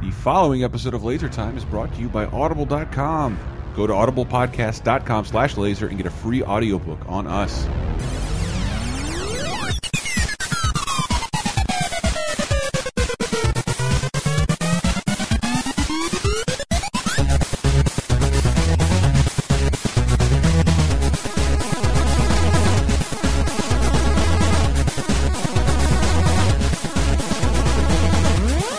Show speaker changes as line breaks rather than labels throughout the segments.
The following episode of Laser Time is brought to you by Audible.com. Go to audiblepodcast.com slash laser and get a free audiobook on us.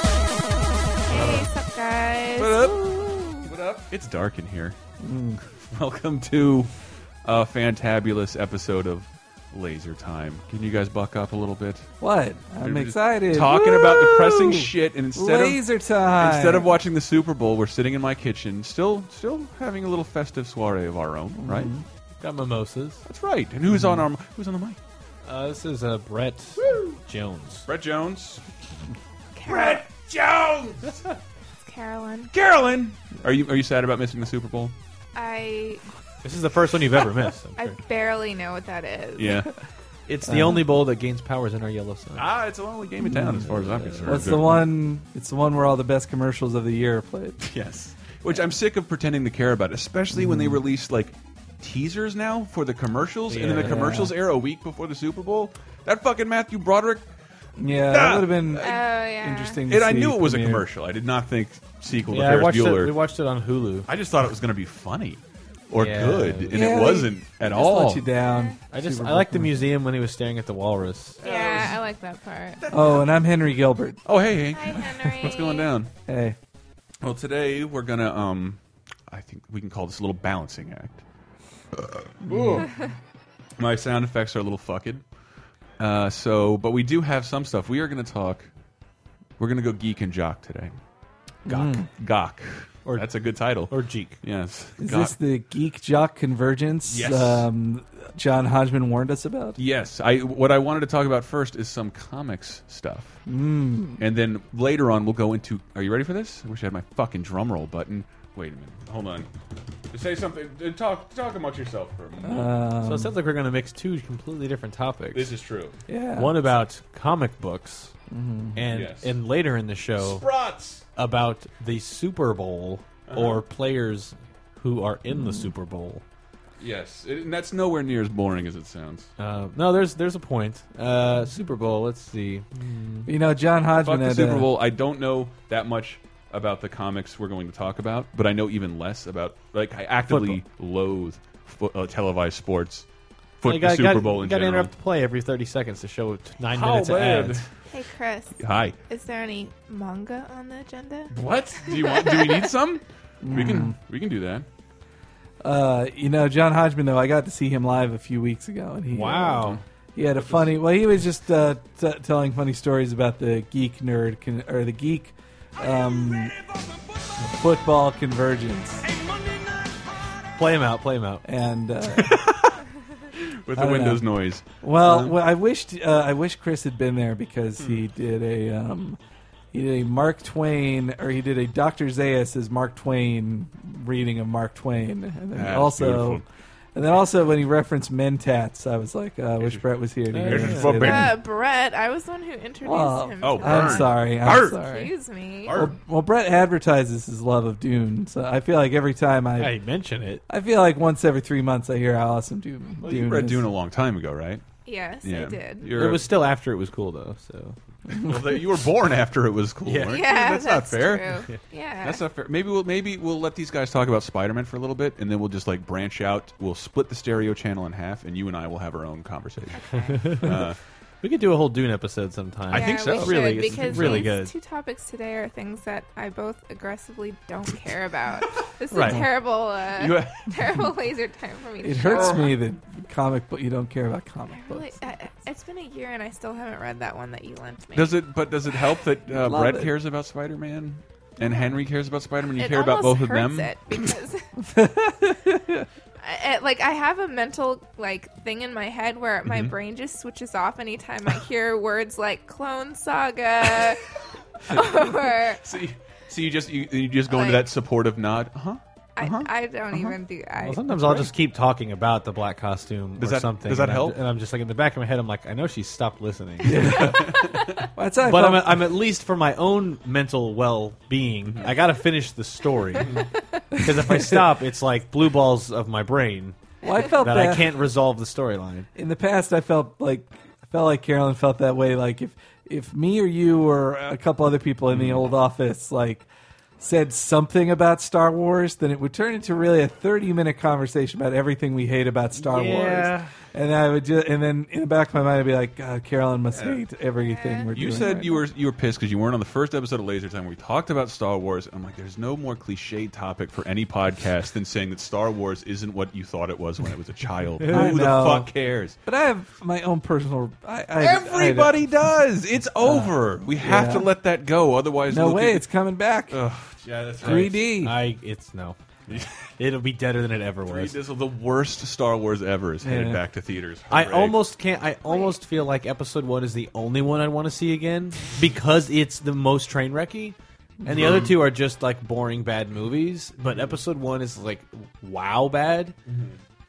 Hey, sup guys?
What up?
Ooh.
What up? It's dark in here. Welcome to a fantabulous episode of Laser Time. Can you guys buck up a little bit?
What? I'm
We're just
excited.
Talking about
Woo!
depressing shit, and instead
laser
of
time.
instead of watching the Super Bowl, we're sitting in my kitchen, still still having a little festive soiree of our own, right?
Mm-hmm.
Got mimosas.
That's right. And who's on our who's on the mic?
Uh, this is uh, Brett Jones.
Brett Jones.
Carol-
Jones.
Carolyn,
Carolyn, are you are you sad about missing the Super Bowl?
I
This is the first one you've ever missed. I'm
I
sure.
barely know what that is.
Yeah.
It's the only bowl that gains powers in our yellow sun.
ah, it's the only game in town as far as I'm concerned.
That's the one. It's the one where all the best commercials of the year are played.
Yes. Which I'm sick of pretending to care about, especially when they release like teasers now for the commercials, and then the
Yeah.
commercials air a week before the Super Bowl. That fucking Matthew Broderick.
Yeah, that would have been
Oh yeah.
interesting. To
And I
see
knew it was a
premiere.
commercial. I did not think sequel to
yeah, I
Ferris
watched
Bueller.
it. We watched it on Hulu.
I just thought it was going to be funny or
Yeah.
good, and
Yeah,
it
they
wasn't at
Just
all.
let you down.
I just
Super
I like the
Bowl.
museum when he was staring at the walrus.
yeah, I like that part.
Oh, and I'm Henry Gilbert.
Oh, hey,
Hi,
Hank.
Henry.
What's going down?
Hey,
Well, today we're gonna. Um, I think we can call this a little balancing act. Ooh. My sound effects are a little fucked. Uh, so, but we do have some stuff. We are gonna talk. We're gonna go geek and jock today. Gawk, gawk.
Or-
That's a good title.
Or Jeek.
yes,
is
gawk.
this the geek jock convergence?
Yes.
Um, John Hodgman warned us about.
Yes, I what I wanted to talk about first is some comics stuff, and then later on we'll go into. Are you ready for this? I wish I had my fucking drum roll button. Wait a minute, hold on. Say something. uh, Talk talk amongst yourself for a moment.
Uh, Um,
so it sounds like we're going to mix two completely different topics.
this is true.
Yeah. Mm-hmm.
one about comic books, and
Yes.
and later in the show
Sprots.
about the Super Bowl or players who are in the Super Bowl.
Yes, it- and that's nowhere near as boring as it sounds.
Uh, no, there's there's a point. Uh, Super Bowl. Let's see. Hmm.
You know, John Hodgman.
Fuck the
had,
Super
uh,
Bowl. I don't know that much about the comics we're going to talk about, but I know even less about. Like I actively loathe fo uh, televised sports. Foot, the
You gotta-
Super
gotta-
Bowl in
you gotta
general.
interrupt the play every 30 seconds to show t- nine
How
minutes of
bad?
ads.
Hey, Chris.
Hi.
Is there any manga on the agenda?
What? Do you want? Do we need some? We
Hmm.
can. We can do that.
mm-hmm. Uh, you know, John Hodgman. Though I got to see him live a few weeks ago, and he uh, He had a funny. Well, he was just uh, t- telling funny stories about the geek nerd con- or the geek um, football convergence,
Play him out, play him out.
and uh,
With
I
the
don't
Windows noise. Uh-huh.
well, well, I wished uh, I wish Chris had been there because he
Hmm.
did a um, he did a Mark Twain or he did a Doctor Zayas as Mark Twain reading of Mark Twain, and then
That's
also.
beautiful.
And then also when he referenced Mentats, I was like, uh, I wish Brett was here. To hear
It's
him say
forbidden.
that.
Uh, Brett, I was the one who introduced
Well,
him.
Oh,
to
Burn.
I'm
that.
sorry. I'm
Burn.
sorry.
Excuse me.
Or-
Well, well, Brett advertises his love of Dune, so I feel like every time I,
Hey, mention it.
I feel like once every three months I hear how awesome Dune.
Well,
Dune
you read
is.
Dune a long time ago, right?
Yes, I did.
You're,
it was still after it was cool, though. So
well, that- you were born after it was cool.
Yeah.
weren't you?
yeah,
that's, not fair.
True. Yeah.
That's not fair. Maybe we'll maybe we'll let these guys talk about Spider-Man for a little bit, and then we'll just like branch out. We'll split the stereo channel in half, and you and I will have our own conversation. Uh,
we could do a whole Dune episode sometime.
I think
Yeah,
so.
we should,
Really, it's
because
really
these
good.
two topics today are things that I both aggressively don't care about. This is
Right.
a terrible, uh,
you,
terrible laser time for me. To
It
shut
hurts
up.
me that comic book you don't care about comic
I really,
books.
I, I- it's been a year and I still haven't read that one that you lent me.
does it? But does it help that uh,
Love
Brett
it.
cares about Spider-Man and Henry cares about Spider-Man? You
It
care about both
almost
of
hurts
them.
It because I, I- like I have a mental like thing in my head where my
Mm-hmm.
brain just switches off anytime I hear words like clone saga or
Uh-huh. So you, so you just you, you just go into
Like-
Uh-huh.
that supportive nod, huh?
I, I
Uh-huh.
don't even do. I,
Well, sometimes I'll just keep talking about the black costume
Does
or
that-
something.
does that
and I'm-
help?
and I'm just like in the back of my head, I'm like, I know she stopped listening,
Well, that's how I
but I'm,
felt-
I'm at least for my own mental well-being,
Mm-hmm.
I got to finish the story because if I stop, it's like blue balls of my brain
well, I felt
that
that
I can't resolve the storyline.
in the past I felt like I felt like Carolyn felt that way. Like if if me or you or a couple other people in the old office like said something about Star Wars, then it would turn into really a thirty minute conversation about everything we hate about Star
Yeah.
Wars. And I would just, and then in the back of my mind, I'd be like, God, Carolyn must hate everything we're
You
doing.
said
right
you were you were pissed because you weren't on the first episode of Laser Time where we talked about Star Wars. I'm like, there's no more cliche topic for any podcast than saying that Star Wars isn't what you thought it was when it was a child.
I
Who the
know.
fuck cares?
But I have my own personal. I, I, Uh,
Everybody does. It's over. We have
yeah.
to let that go. Otherwise,
I, no
we'll
way,
get-
it's coming back.
Ugh, yeah, that's right.
3D.
I it's no, it'll be deader than it ever was.
This is the worst Star Wars ever is headed
Yeah.
back to theaters.
I
Hooray.
almost can't. I almost feel like episode one is the only one I want to see again because it's the most train wrecky, and the
Mm-hmm.
other two are just like boring bad movies. But episode one is like wow bad.
Mm-hmm.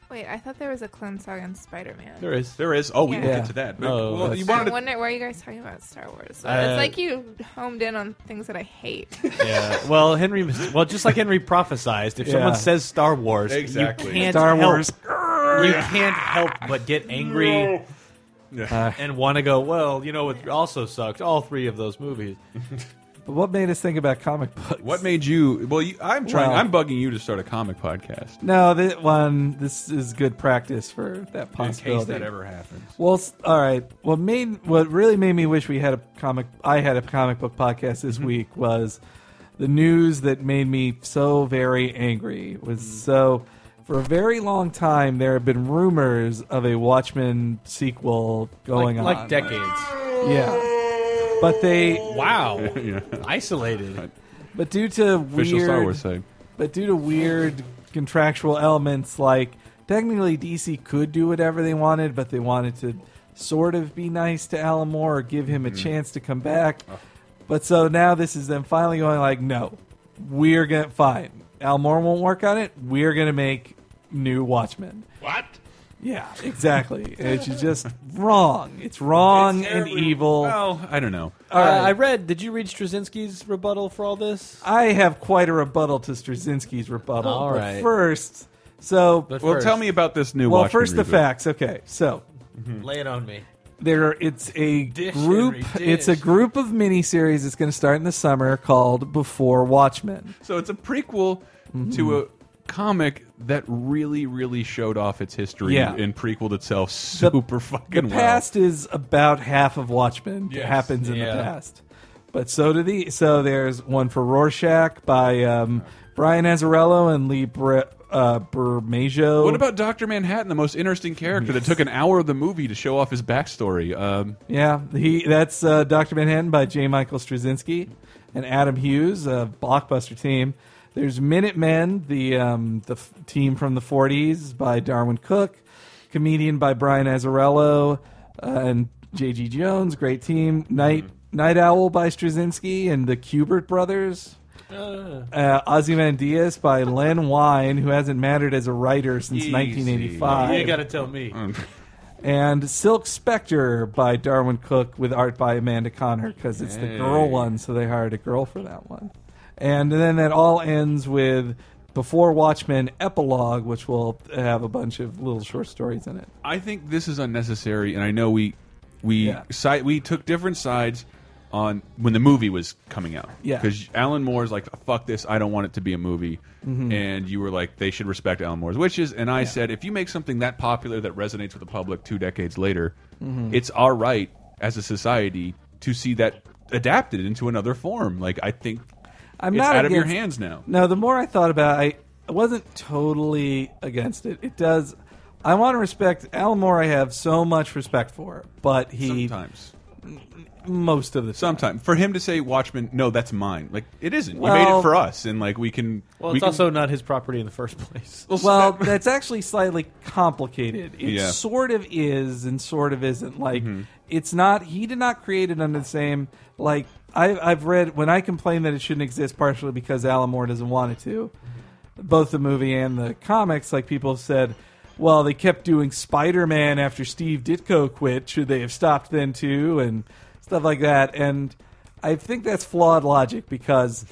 wait. I thought there was a clone saga on Spider Man.
There is.
there is. Oh, we will
Yeah.
get to that. But,
Oh,
well,
that's-
you
I
wanted to.
wonder why you guys talking about Star Wars. So
Uh,
it's like you homed in on things that I hate.
Yeah. Well, Henry. Well, just like Henry prophesized, if someone
Yeah.
says Star Wars,
Exactly.
you can't
Star
help-
Wars.
You can't help but get angry
Yeah.
and want to go. Well, you know what also sucked? All three of those movies.
but what made us think about comic books?
What made you? Well, you, I'm trying.
Well-
I'm bugging you to start a comic podcast.
No, that one. This is good practice for that
in case
possibility.
that ever happens.
Well, s- all right. What made what really made me wish we had a comic? I had a comic book podcast
Mm-hmm.
this week was the news that made me so very angry.
Mm.
Was so for a very long time there have been rumors of a Watchmen sequel going
like,
on,
like decades.
Yeah, but they
Wow.
Yeah.
Isolated.
but due to
Official
weird
Star Wars site.
But due to weird contractual elements, like technically DC could do whatever they wanted, but they wanted to sort of be nice to Alan Moore or give
Mm-hmm.
him a chance to come back.
Oh.
But so now this is them finally going like, no, we're gonna fine. Al Moore won't work on it. We're gonna make new Watchmen. What? Yeah, exactly. it's just wrong. It's wrong and evil.
Well, I don't know.
All right.
Uh, I read. Did you read Straczynski's rebuttal for all this?
I have quite a rebuttal to Straczynski's rebuttal.
All
but
right.
first, so
But
Well,
first,
tell me about this new.
well,
Watchmen
first the
reboot.
facts. Okay, so
Hmm. Lay it on me.
there it's a
Dish,
group.
Henry,
It's a
dish.
group of miniseries that's going to start in the summer called Before Watchmen.
So it's a prequel
Mm-hmm.
to a comic that really, really showed off its history
Yeah.
and prequeled itself super fucking
the
well.
past is about half of Watchmen
Yes.
happens in
Yeah.
the past, but so do the so there's one for Rorschach by um, Brian Azzarello and Lee Bre- uh, Bermejo.
What about Doctor Manhattan, the most interesting character that took an hour of the movie to show off his backstory? Um,
Yeah, he that's uh, Doctor Manhattan by J. Michael Straczynski and Adam Hughes, a blockbuster team. There's Minutemen, the um, the f- team from the '40s by Darwin Cook, comedian by Brian Azzarello uh, and J.G. Jones, great team. Night Night Owl by Straczynski and the Kubert brothers. Uh, Ozymandias by Len Wein, who hasn't mattered as a writer since
Easy.
1985
you gotta tell me.
Hmm.
and Silk Spectre by Darwin Cook with art by Amanda Connor because it's the girl
Hey.
one, so they hired a girl for that one. And then that all ends with Before Watchmen epilogue, which will have a bunch of little short stories in it.
I think this is unnecessary, and I know we we
Yeah.
si- we took different sides on when the movie was coming out.
Yeah.
because Alan Moore's like, "Fuck this! I don't want it to be a movie,"
Mm-hmm.
and you were like, "They should respect Alan Moore's wishes." And I said, "If you make something that popular that resonates with the public two decades later,
Mm-hmm.
it's our right as a society to see that adapted into another form." Like, I think
I'm
it's
not
out of your hands
against-
now.
No, the more I thought about it, I, I wasn't totally against it. It does. I want to respect Al Moore. I have so much respect for, but he
Sometimes.
most of the time.
Sometime for him to say Watchmen, no, that's mine. Like it isn't. you made it
Well-
for us, and like we can.
Well,
we
it's
can,
also not his property in the first place.
Well, that's actually slightly complicated. It
Yeah.
sort of is and sort of isn't. Like it's not he did not create it under the same like I I've read when I complain that it shouldn't exist partially because Alan Moore doesn't want it to. both the movie and the comics, like people have said, well, they kept doing Spider Man after Steve Ditko quit. Should they have stopped then too? And stuff like that. And I think that's flawed logic because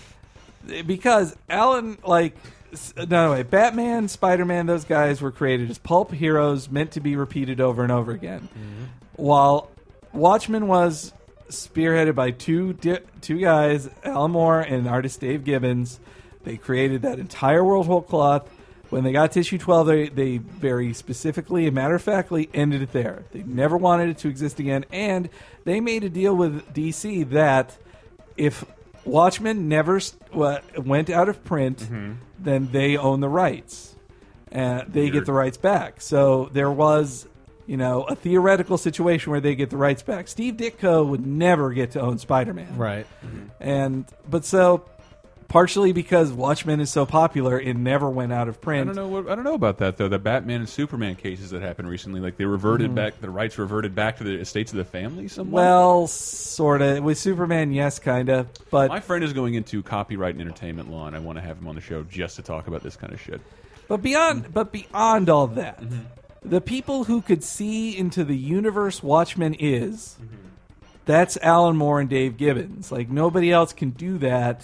because Alan like s- no wait Batman, Spider Man, those guys were created as pulp heroes meant to be repeated over and over again. While Watchmen was spearheaded by two di- two guys, Alan Moore and artist Dave Gibbons, they created that entire world whole cloth. When they got to issue 12, they, they very specifically and matter of factly ended it there. They never wanted it to exist again, and they made a deal with DC that if Watchmen never s- wa- went out of print, then they own the rights. And they get
Weird.
the rights back. So there was, you know, a theoretical situation where they get the rights back. Steve Ditko would never get to own Spider Man.
Right.
And, but so, partially because Watchmen is so popular, it never went out of print.
I don't know. What, I don't know about that though. The Batman and Superman cases that happened recently, like they reverted back, the rights reverted back to the estates of the family. Somewhat.
Hmm. Well, sort of. With Superman, yes, kind of. But
my friend is going into copyright and entertainment law, and I want to have him on the show just to talk about this kind of shit.
But
Mm-hmm.
beyond, but beyond all that, the people who could see into the universe Watchmen is,
Mm-hmm.
that's Alan Moore and Dave Gibbons. Like nobody else can do that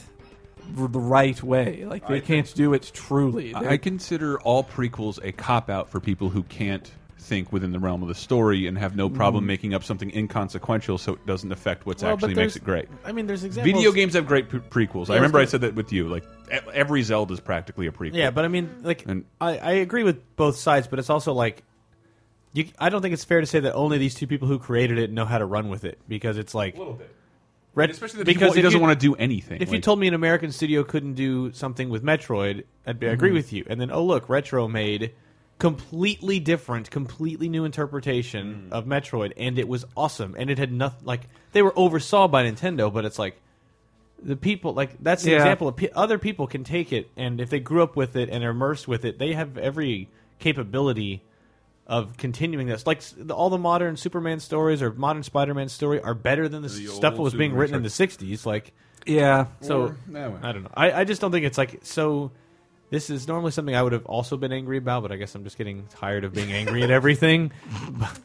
r- the right way. Like they can't do it truly. They're-
I consider all prequels a cop out for people who can't think within the realm of the story and have no problem
Hmm.
making up something inconsequential so it doesn't affect what's actually makes it great.
I mean, there's examples.
Video games have great pre prequels. I
Yeah,
remember I
it's-
said that with you. Like e- every Zelda is practically a prequel.
Yeah, but I mean, like,
And-
I, I agree with both sides, but it's also like, you, I don't think it's fair to say that only these two people who created it know how to run with it because it's like,
bit.
red,
Especially the
because
because he
if
doesn't
you-
want to do anything.
If you
Like,
told me an American studio couldn't do something with Metroid, I'd be, I
Mm-hmm.
agree with you. And then, oh look, Retro made completely different, completely new
Mm.
interpretation of Metroid, and it was awesome. And it had nothing like they were oversaw by Nintendo, but it's like the people like that's the
Yeah.
example of pe- other people can take it, and if they grew up with it and are immersed with it, they have every capability of continuing this. Like s- the- all the modern Superman stories or modern Spider-Man story are better than the,
The
stuff that
old
was being
Superman
written in the
story.
'60s. Like
yeah.
so uh,
Or- no, well.
I don't know. I, I just don't think it's like so. This is normally something I would have also been angry about, but I guess I'm just getting tired of being angry at everything.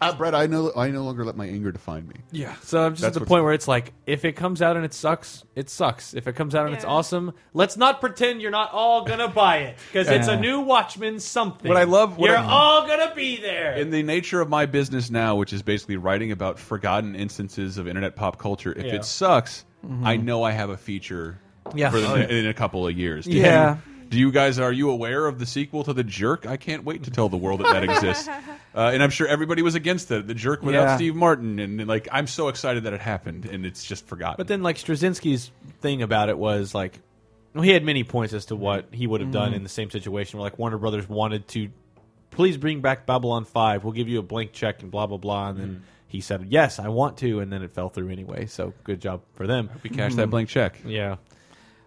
Ah, Brett, I no, I no longer let my anger define me.
Yeah. So I'm just
That's
at the
what's-
point where it's like, if it comes out and it sucks, it sucks. If it comes out and it's
Yeah.
awesome, let's not pretend you're not all gonna buy it because it's a
Yeah.
new Watchmen something.
What I love- what
you're
I-
all gonna be there.
in the nature of my business now, which is basically writing about forgotten instances of internet pop culture, if
Yeah. Mm-hmm.
it sucks, I know I have a feature
Yeah.
for the,
Oh, yeah.
in a couple of years. Do
Yeah.
You, do you guys are you aware of the sequel to The Jerk? I can't wait to tell the world that that exists. Uh, and I'm sure everybody was against it. The Jerk without
Yeah.
Steve Martin, and like I'm so excited that it happened, and it's just forgotten.
But then, like Straczynski's thing about it was like, well, he had many points as to what he would have done in the same situation. Where like Warner Brothers wanted to, please bring back Babylon Five. We'll give you a blank check and blah blah blah. And then he said, yes, I want to. And then it fell through anyway. So good job for them.
we cash
Hmm.
that blank check.
Yeah.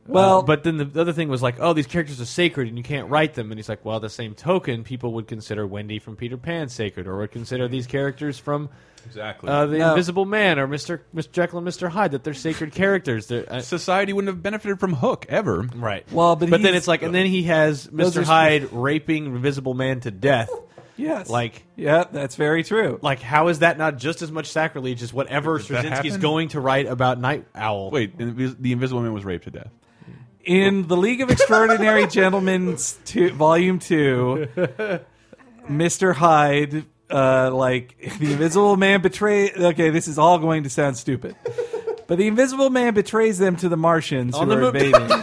Well,
Uh, but then the other thing was like, oh, these characters are sacred and you can't write them. And he's like, well, the same token, people would consider Wendy from Peter Pan sacred, or would consider these characters from
Exactly.
uh, the
No.
Invisible Man or Mister Mr. Jekyll and Mister Hyde that they're sacred characters. They're, uh, I-
Society wouldn't have benefited from Hook ever.
Right.
Well, but
then
he's-
it's like, and then he has
Those
Mr.
are-
Hyde raping Invisible Man to death.
yes.
like-
yeah, that's very true.
Like, how is that not just as much sacrilege as whatever
Did that
Straczynski's
happen?
going to write about Night Owl?
Wait, the Invis- the Invisible Man was raped to death.
In The League of Extraordinary Gentlemen, two, Volume 2, Mr. Hyde, uh, like, the Invisible Man betrays. Okay, this is all going to sound stupid. But the Invisible Man betrays them to the Martians
On
who
the
are
moon.
invading.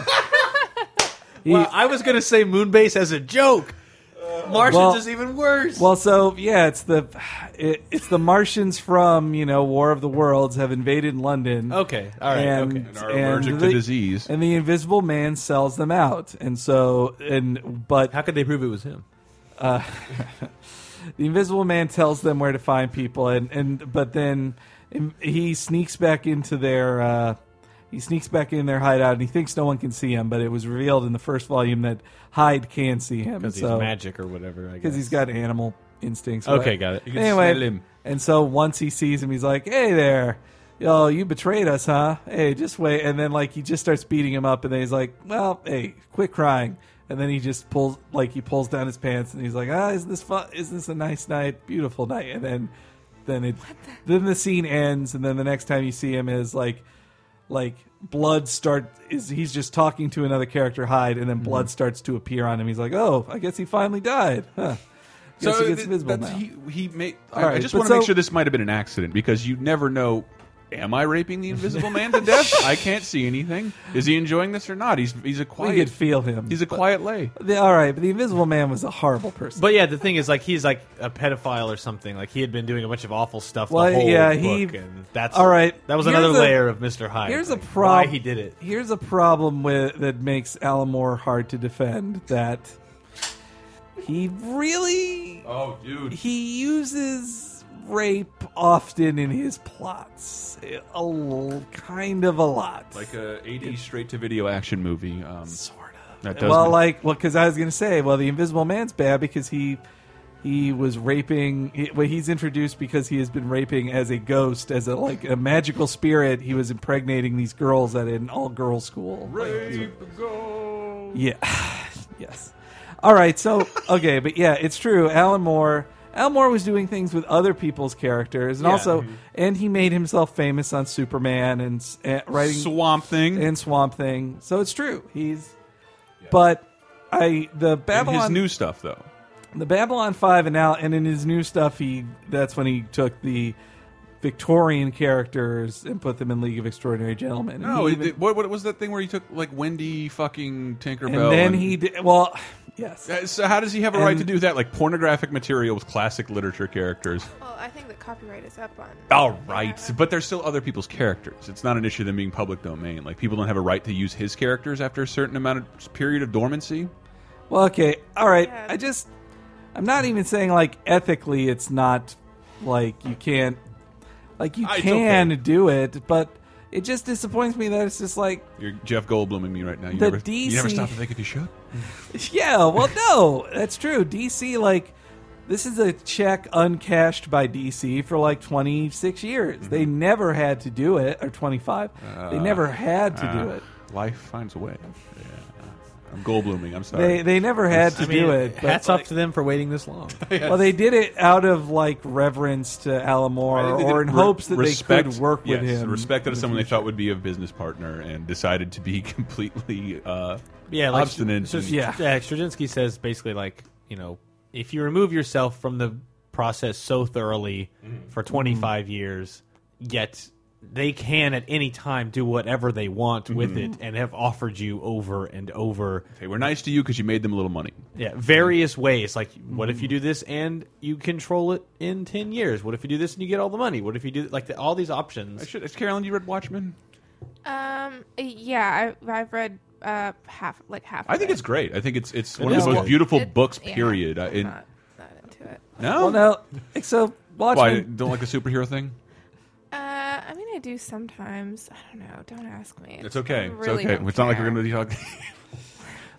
He-
Well, I was going to say Moonbase as a joke. Martians
Well-
is even worse.
Well, so yeah, it's the it, it's the Martians from you know War of the Worlds have invaded London.
okay. All right.
and,
okay.
And are allergic to disease.
And the Invisible Man sells them out, and so and but
How could they prove it was him?
the invisible man tells them where to find people and, and but then he sneaks back into their uh, he sneaks back in their hideout and he thinks no one can see him but it was revealed in the first volume that hyde can see him
Because he's
so-
magic or whatever. I guess.
'cause he's got animal instincts
Okay, got it. You can
anyway
smell him.
and so once he sees him he's like hey there yo you betrayed us huh hey just wait and then like he just starts beating him up and then he's like well hey quit crying and then he just pulls like he pulls down his pants and he's like, ah, is this fun? Is this a nice night? Beautiful night. And then then it then the scene ends, and then the next time you see him is like like blood start is he's just talking to another character Hyde, and then blood starts to appear on him. He's like, oh, I guess he finally died. Huh. Guess he gets
th-
visible
that's-
now.
He, he made. I,
All
I
right,
just
but
want to make
so-
sure this might have been an accident because you never know. Am I raping the Invisible Man to death? I can't see anything. Is he enjoying this or not? He's he's a
we could
quiet.
feel him.
He's a quiet lay.
The- all right, but the Invisible Man was a horrible person.
But yeah, the thing is, like, he's like a pedophile or something. Like, he had been doing a bunch of awful stuff.
Well,
the whole
yeah, he-
book, and that's
All right,
That was
here's
another
a-
layer of Mister Hyde.
here's a
like,
problem.
Why he did it?
Here's a problem with that makes Alan Moore hard to defend. That he really
Oh, dude.
he uses rape often in his plots, a l- kind of a lot.
Like a 80s straight to video action movie. Um,
sort of.
that does
well,
make-
like, well, because I was gonna say, well, the Invisible Man's bad because he he was raping. He, well, he's introduced because he has been raping as a ghost, as a like a magical spirit. He was impregnating these girls at an all girls school.
Rape goal.
Yeah. yes. All right. So okay, but yeah, it's true. Alan Moore. Alan Moore was doing things with other people's characters, and
Yeah.
also, and he made himself famous on Superman and, s- and writing
Swamp Thing.
and Swamp Thing. So it's true. He's, but I the
And
Babylon
his new stuff though.
the Babylon Five and now and in his new stuff he that's when he took the Victorian characters and put them in League of Extraordinary Gentlemen. And
No,
he
it-
even-
it- what, what was that thing where he took like Wendy fucking Tinkerbell?
and then he did well. Yes,
Uh, So how does he have a right
And-
to do that? Like pornographic material with classic literature characters.
Well, I think the copyright is up on.
All right, but they're still other people's characters. It's not an issue of them being public domain. Like people don't have a right to use his characters after a certain amount of period of dormancy.
Well, okay, all right.
Yeah.
I just, I'm not even saying like ethically, it's not like you can't, like you
Ah, it's
can
okay.
do it, but it just disappoints me that it's just like,
You're Jeff Goldbluming me right now. You
The
never,
DC
you never stop to think if you should.
yeah, well, no, that's true. DC, like, this is a check uncashed by DC for like 26 years. They
Mm-hmm.
never had to do it, or 25. they never had to do
Ah,
it.
Life finds a way. Yeah. I'm Goldbluming. I'm sorry.
They they never had to
I mean,
do it. but,
Hats off to them for waiting this long.
Well, they did it out of like reverence to
I think
Alamore,
they
or
did
in
re-
hopes that
respect-
they could work with
yes,
him.
Respect that
in
as
the
someone they
future.
thought would be a business partner and decided to be completely uh,
yeah, like,
obstinate.
So,
and-
yeah.
yeah, Straczynski says basically like you know if you remove yourself from the process so thoroughly
Mm-hmm.
for 25 years, yet they can at any time do whatever they want with
Mm-hmm.
it and have offered you over and over.
They were nice to you because you made them a little money.
Yeah, various ways. Like, what if you do this and you control it in ten years? What if you do this and you get all the money? What if you do like the, all these
I
options?
should. Has Carolyn, you read Watchmen?
Um. Yeah, I, I've read uh half, like half.
I
of
think
it.
it's great. I think it's it's
It
one of
is
the most
good.
beautiful
It-
books.
yeah, Uh,
Period. I,
I'm
it-
not, not into it.
no,
Well, no, like, so
Why I
Watchmen.
don't like the superhero thing?
Uh, I mean, I do sometimes. I don't know. Don't ask me.
It's okay.
I
It's
really
okay.
don't
It's not like we're
care.
gonna be talking.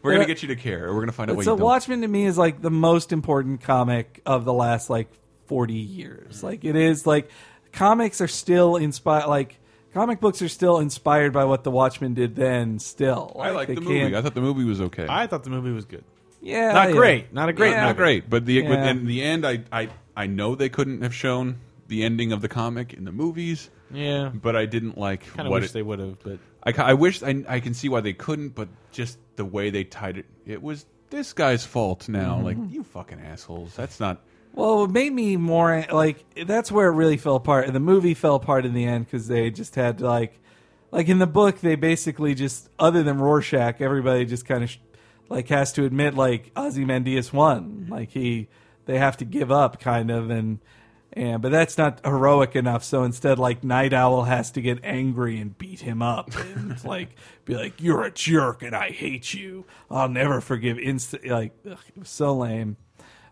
we're
But-
gonna get you to care. We're gonna find out.
but
what
so
you don't.
Watchmen to me is like the most important comic of the last like forty years. Like it is like comics are still inspired. Like comic books are still inspired by what the Watchmen did then. Still,
I like
they
the movie.
can't-
I thought the movie was okay.
thought the movie was good.
yeah,
Not
yeah.
great. Not a great.
Yeah.
not
movie.
great, but the but
Yeah.
in the end, I, I I know they couldn't have shown the ending of the comic in the movies,
Yeah,
but I didn't like
kind of
what
wish
it,
they would have, but
I, ca- I wish I, I can see why they couldn't, but just the way they tied it, it was this guy's fault. Now, like you fucking assholes, that's not.
Well, it made me more like that's where it really fell apart. The movie fell apart in the end because they just had to like, like in the book, they basically just other than Rorschach, everybody just kind of sh- like has to admit like Ozymandias won. Like he, they have to give up kind of and and but that's not heroic enough. So instead, like Night Owl has to get angry and beat him up and like be like, "You're a jerk and I hate you. I'll never forgive." Inst like ugh, it was so lame.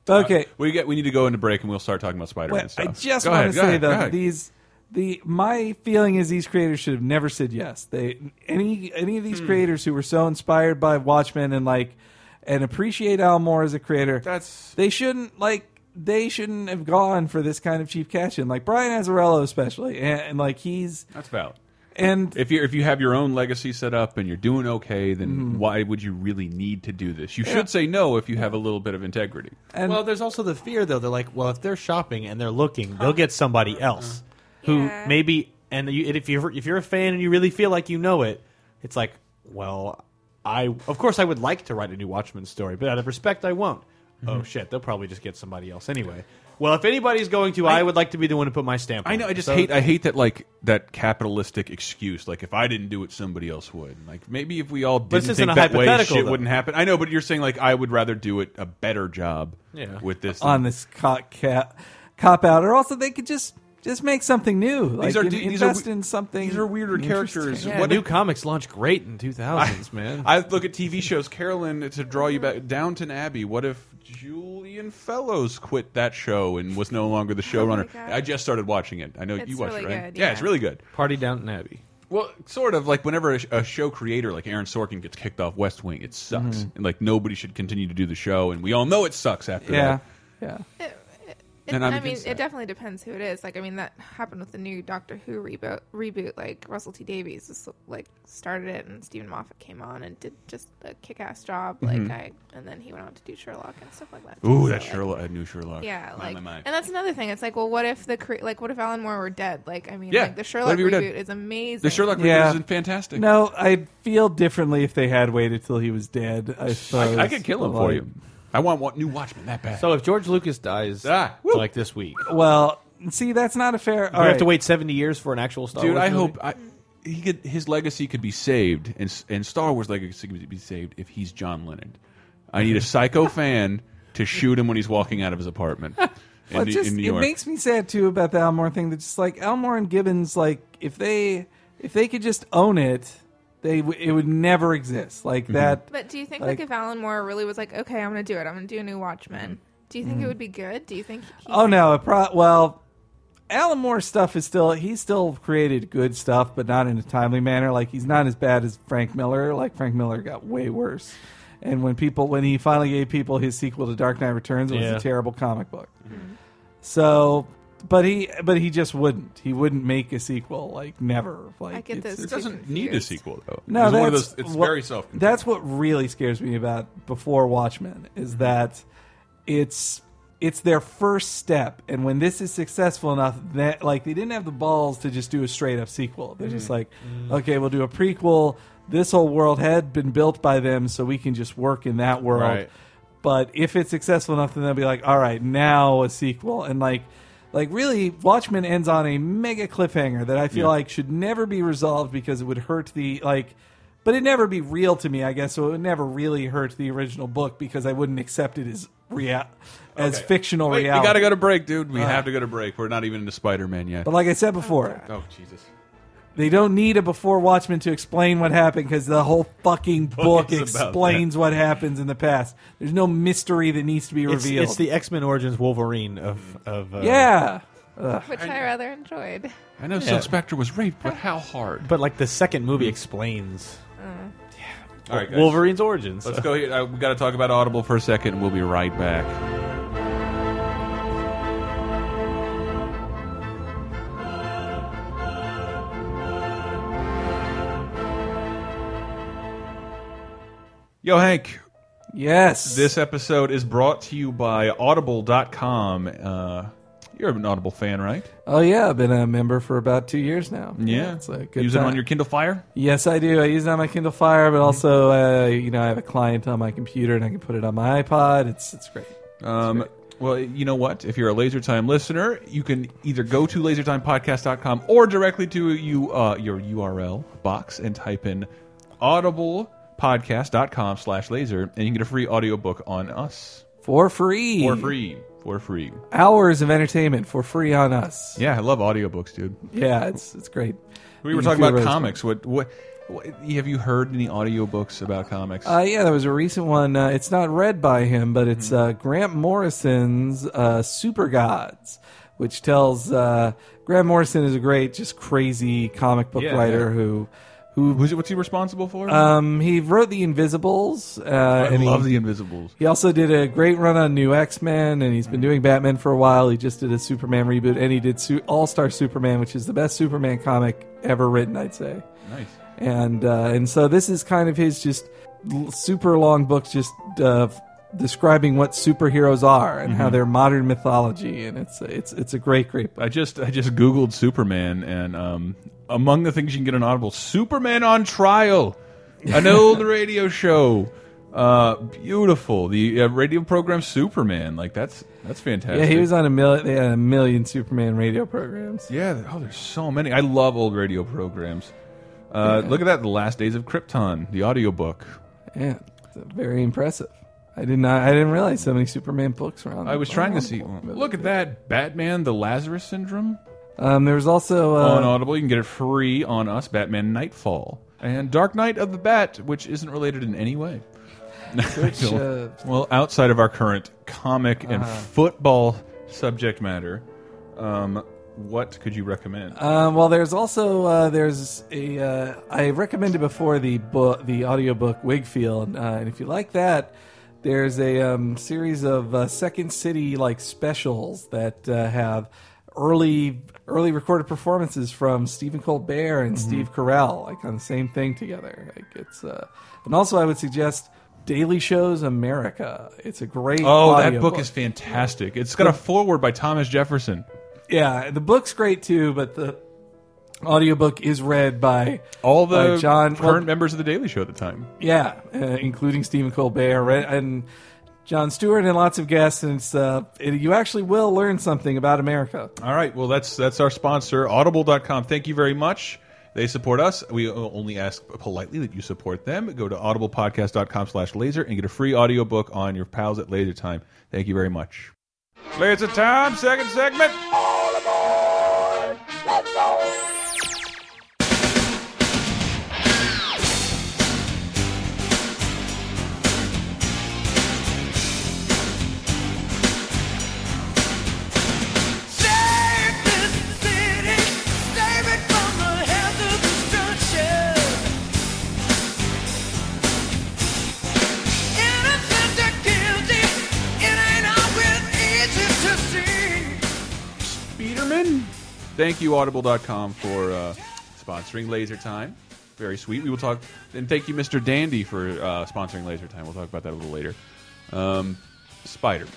But okay,
We get we need to go into break and we'll start talking about Spider Man
Wait,
stuff.
I just
Go
want
ahead,
to
go
say
ahead, go
though,
ahead.
these the my feeling is these creators should have never said yes. They any any of these
Hmm.
creators who were so inspired by Watchmen and like and appreciate Al Moore as a creator,
That's-
they shouldn't like they shouldn't have gone for this kind of cheap cash in. Like Brian Azzarello especially, and, and like he's
that's valid.
And
If you if you have your own legacy set up and you're doing okay, then
Mm-hmm.
why would you really need to do this? You should say no if you have a little bit of integrity.
and
well, there's also the fear though. They're like, well, if they're shopping and they're looking, they'll get
Uh-huh.
somebody else who
Yeah.
maybe. And you, and if you're if you're a fan and you really feel like you know it, it's like, well, I of course I would like to write a new Watchmen story, but out of respect, I won't.
Mm-hmm.
Oh shit, they'll probably just get somebody else anyway. Well, if anybody's going to, I, would like to be the one to put my stamp.
I
on
know.
it.
I just
So-
hate. I hate that like that capitalistic excuse. Like if I didn't do it, somebody else would. Like maybe if we all
This
didn't
isn't
think
a
that way,
hypothetical,
shit
though.
wouldn't happen. I know, but you're saying like I would rather do it a better job.
Yeah.
With this.
on this cop, cat, cop out, or also they could just just make something new. Like, in-
de-
invest
we-
in something.
These are weirder characters.
interesting.
Yeah,
what
new
if-
comics launched great in 2000s, man.
I look at TV shows. Carolyn, to draw you back, Downton Abbey. What if Julian Fellows quit that show and was no longer the showrunner?
Oh God.
I just started watching it. I know you
It's
watched it,
really
right?
good,
it's
yeah.
really good.
Party Downton Abbey.
Well, sort of like whenever a, sh- a show creator like Aaron Sorkin gets kicked off West Wing, it sucks,
Mm-hmm.
and like nobody should continue to do the show, and we all know it sucks after
Yeah,
that.
It,
yeah.
it-
And I'm
I mean,
against that.
it definitely depends who it is. Like, I mean, that happened with the new Doctor Who reboot. Reboot, like Russell T Davies, was, like started it, and Stephen Moffat came on and did just a kick-ass job. Like, I and then he went on to do Sherlock and stuff like that.
Mm-hmm. Ooh,
So,
that
like,
Sherlock, that new Sherlock.
Yeah,
My,
like,
my, my.
and that's another thing. It's like, well, what if the cre- like, what if Alan Moore were dead? Like, I mean,
Yeah,
like the
what if
Sherlock
he were dead?
reboot is amazing.
the Sherlock
Yeah.
reboot is fantastic.
No, I'd feel differently if they had waited till he was dead. I suppose
I, I could kill him
But,
for
like,
you. I want one, new Watchmen that bad.
So if George Lucas dies
Ah, woo.
like this week, we
Well, see, that's not a fair. All
have to
right.
wait 70 years for an actual Star
Dude,
Wars
I
movie?
hope I, he could his legacy could be saved, and s- and Star Wars legacy could be saved if he's John Lennon. I need a psycho fan to shoot him when he's walking out of his apartment in,
Well,
New-
just,
in New
It
York.
makes me sad too about the Elmore thing. That just like Elmore and Gibbons, like if they if they could just own it, they w- it would never exist like
Mm-hmm.
that.
But do you think like,
Like-
if Alan Moore really was like, okay, I'm gonna do it. I'm gonna do a new Watchmen.
Mm-hmm.
Do you think it would be good? Do you think? He,
Mm-hmm. Oh no! It pro- well, Alan Moore stuff is still he still created good stuff, but not in a timely manner. Like he's not as bad as Frank Miller. Like Frank Miller got way worse. And when people when he finally gave people his sequel to Dark Knight Returns, it was
Yeah.
a terrible comic book.
Mm-hmm.
So, but he but he just wouldn't. He wouldn't make a sequel. Like never. Like
I get
it's-
those
it doesn't need a
confused.
sequel though.
no,
it's
that's
one of those. It's
what-
very self.
That's what really scares me about before Watchmen is
Mm-hmm.
that it's it's their first step, and when this is successful enough, that like they didn't have the balls to just do a straight up sequel. They're
Mm-hmm.
just like, okay, we'll do a prequel. This whole world had been built by them, so we can just work in that world.
Right.
But if it's successful enough, then they'll be like, all right, now a sequel, and like. Like really, Watchmen ends on a mega cliffhanger that I feel
Yeah.
like should never be resolved because it would hurt the like but it'd never be real to me, I guess. So it would never really hurt the original book because I wouldn't accept it as rea- as fictional
Wait,
reality. Uh,
We gotta go to break, dude. We have to go to break. We're not even into Spider Man yet.
but like I said before,
Oh Jesus!
they don't need a before Watchmen to explain what happened because the whole fucking book
is about
explains what happens in the past. There's no mystery that needs to be
It's,
revealed.
it's the X Men Origins Wolverine of of uh,
yeah.
which I rather enjoyed.
I know Silk Spectre was raped, but how hard?
But like the second movie explains
All right, guys.
Wolverine's origins.
Let's go here. Uh, we got to talk about Audible for a second, and we'll be right back. Yo, Hank,
Yes.
This episode is brought to you by Audible.com. Uh, you're an Audible fan, right?
Oh yeah, I've been a member for about two years now. it's a good
Use it
time.
on your Mm-hmm. Kindle Fire?
Yes, I do. I use it on my Kindle Fire, but also, uh, you know, I have a client on my computer, and I can put it on my iPod. It's it's great.
Um, well, you know what? If you're a Laser Time listener, you can either go to lasertimepodcast.com or directly to you uh, your URL box and type in audiblepodcast.com slash laser, and you can get a free audiobook on us
for free.
for free. For free.
Hours of entertainment for free on us.
Yeah, I love audiobooks, dude.
Yeah, it's it's great.
We
You
were
can
talking
feel
about
really
comics. What, what, what have you heard any audiobooks about comics?
Uh, yeah, there was a recent one. Uh, it's not read by him, but
Mm-hmm.
it's uh, Grant Morrison's uh, Super Gods, which tells uh, Grant Morrison is a great, just crazy comic book
Yeah,
writer who who
Who's, what's he responsible for?
um, he wrote the Invisibles. Uh,
I
and
love
he,
the Invisibles.
He also did a great run on New X Men, and he's been doing Batman for a while. He just did a Superman reboot, and he did Su- All Star Superman, which is the best Superman comic ever written, I'd say.
Nice.
And uh, and so this is kind of his just l- super long books, just uh, f- describing what superheroes are and
Mm-hmm.
how they're modern mythology, and it's it's it's a great great book.
I just I just googled Superman, and um, among the things you can get on Audible, Superman on Trial, an old radio show. Uh, beautiful. The uh, radio program Superman, like that's that's fantastic.
Yeah, he was on a million. They had a million Superman radio programs.
Yeah, th- oh, there's so many. I love old radio programs. Uh, Look at that, The Last Days of Krypton, the audiobook.
Yeah, it's very impressive. I did not. I didn't realize so many Superman books were on.
I was trying to see. hmm. Look at that, Batman, The Lazarus Syndrome
Um, there was also uh,
on Audible. You can get it free on us, Batman Nightfall. And Dark Knight of the Bat, which isn't related in any way.
which, uh,
Well, outside of our current comic and
Uh-huh.
football subject matter, um, what could you recommend?
um, well, there's also uh, there's a uh, I recommended before the book the audiobook Wigfield, uh, and if you like that, there's a um, series of uh, Second City like specials that uh, have early early recorded performances from Stephen Colbert
Mm-hmm.
and Steve Carell, like on the same thing together. Like it's uh, and also I would suggest. Daily Shows America. It's a great.
oh, that
audiobook.
book is fantastic. It's got a foreword by Thomas Jefferson.
Yeah, the book's great too, but the audiobook is read by
All the
by John
current
well,
members of the Daily Show at the time.
yeah, uh, including Stephen Colbert re- and John Stewart and lots of guests, and it's, uh, it, you actually will learn something about America.
All right. Well, that's that's our sponsor, Audible.com. Thank you very much. They support us. We only ask politely that you support them. Go to audiblepodcast.com slash laser and get a free audiobook on your pals at Laser Time. Thank you very much. Laser Time, second segment.
Save this city, save it from the hands of destruction. Innocent or guilty, it ain't always easy to see.
Speederman. Thank you, Audible.com, for uh, sponsoring Laser Time. Very sweet. We will talk. And thank you, Mr. Dandy, for uh, sponsoring Laser Time. We'll talk about that a little later. Um, Spider Man.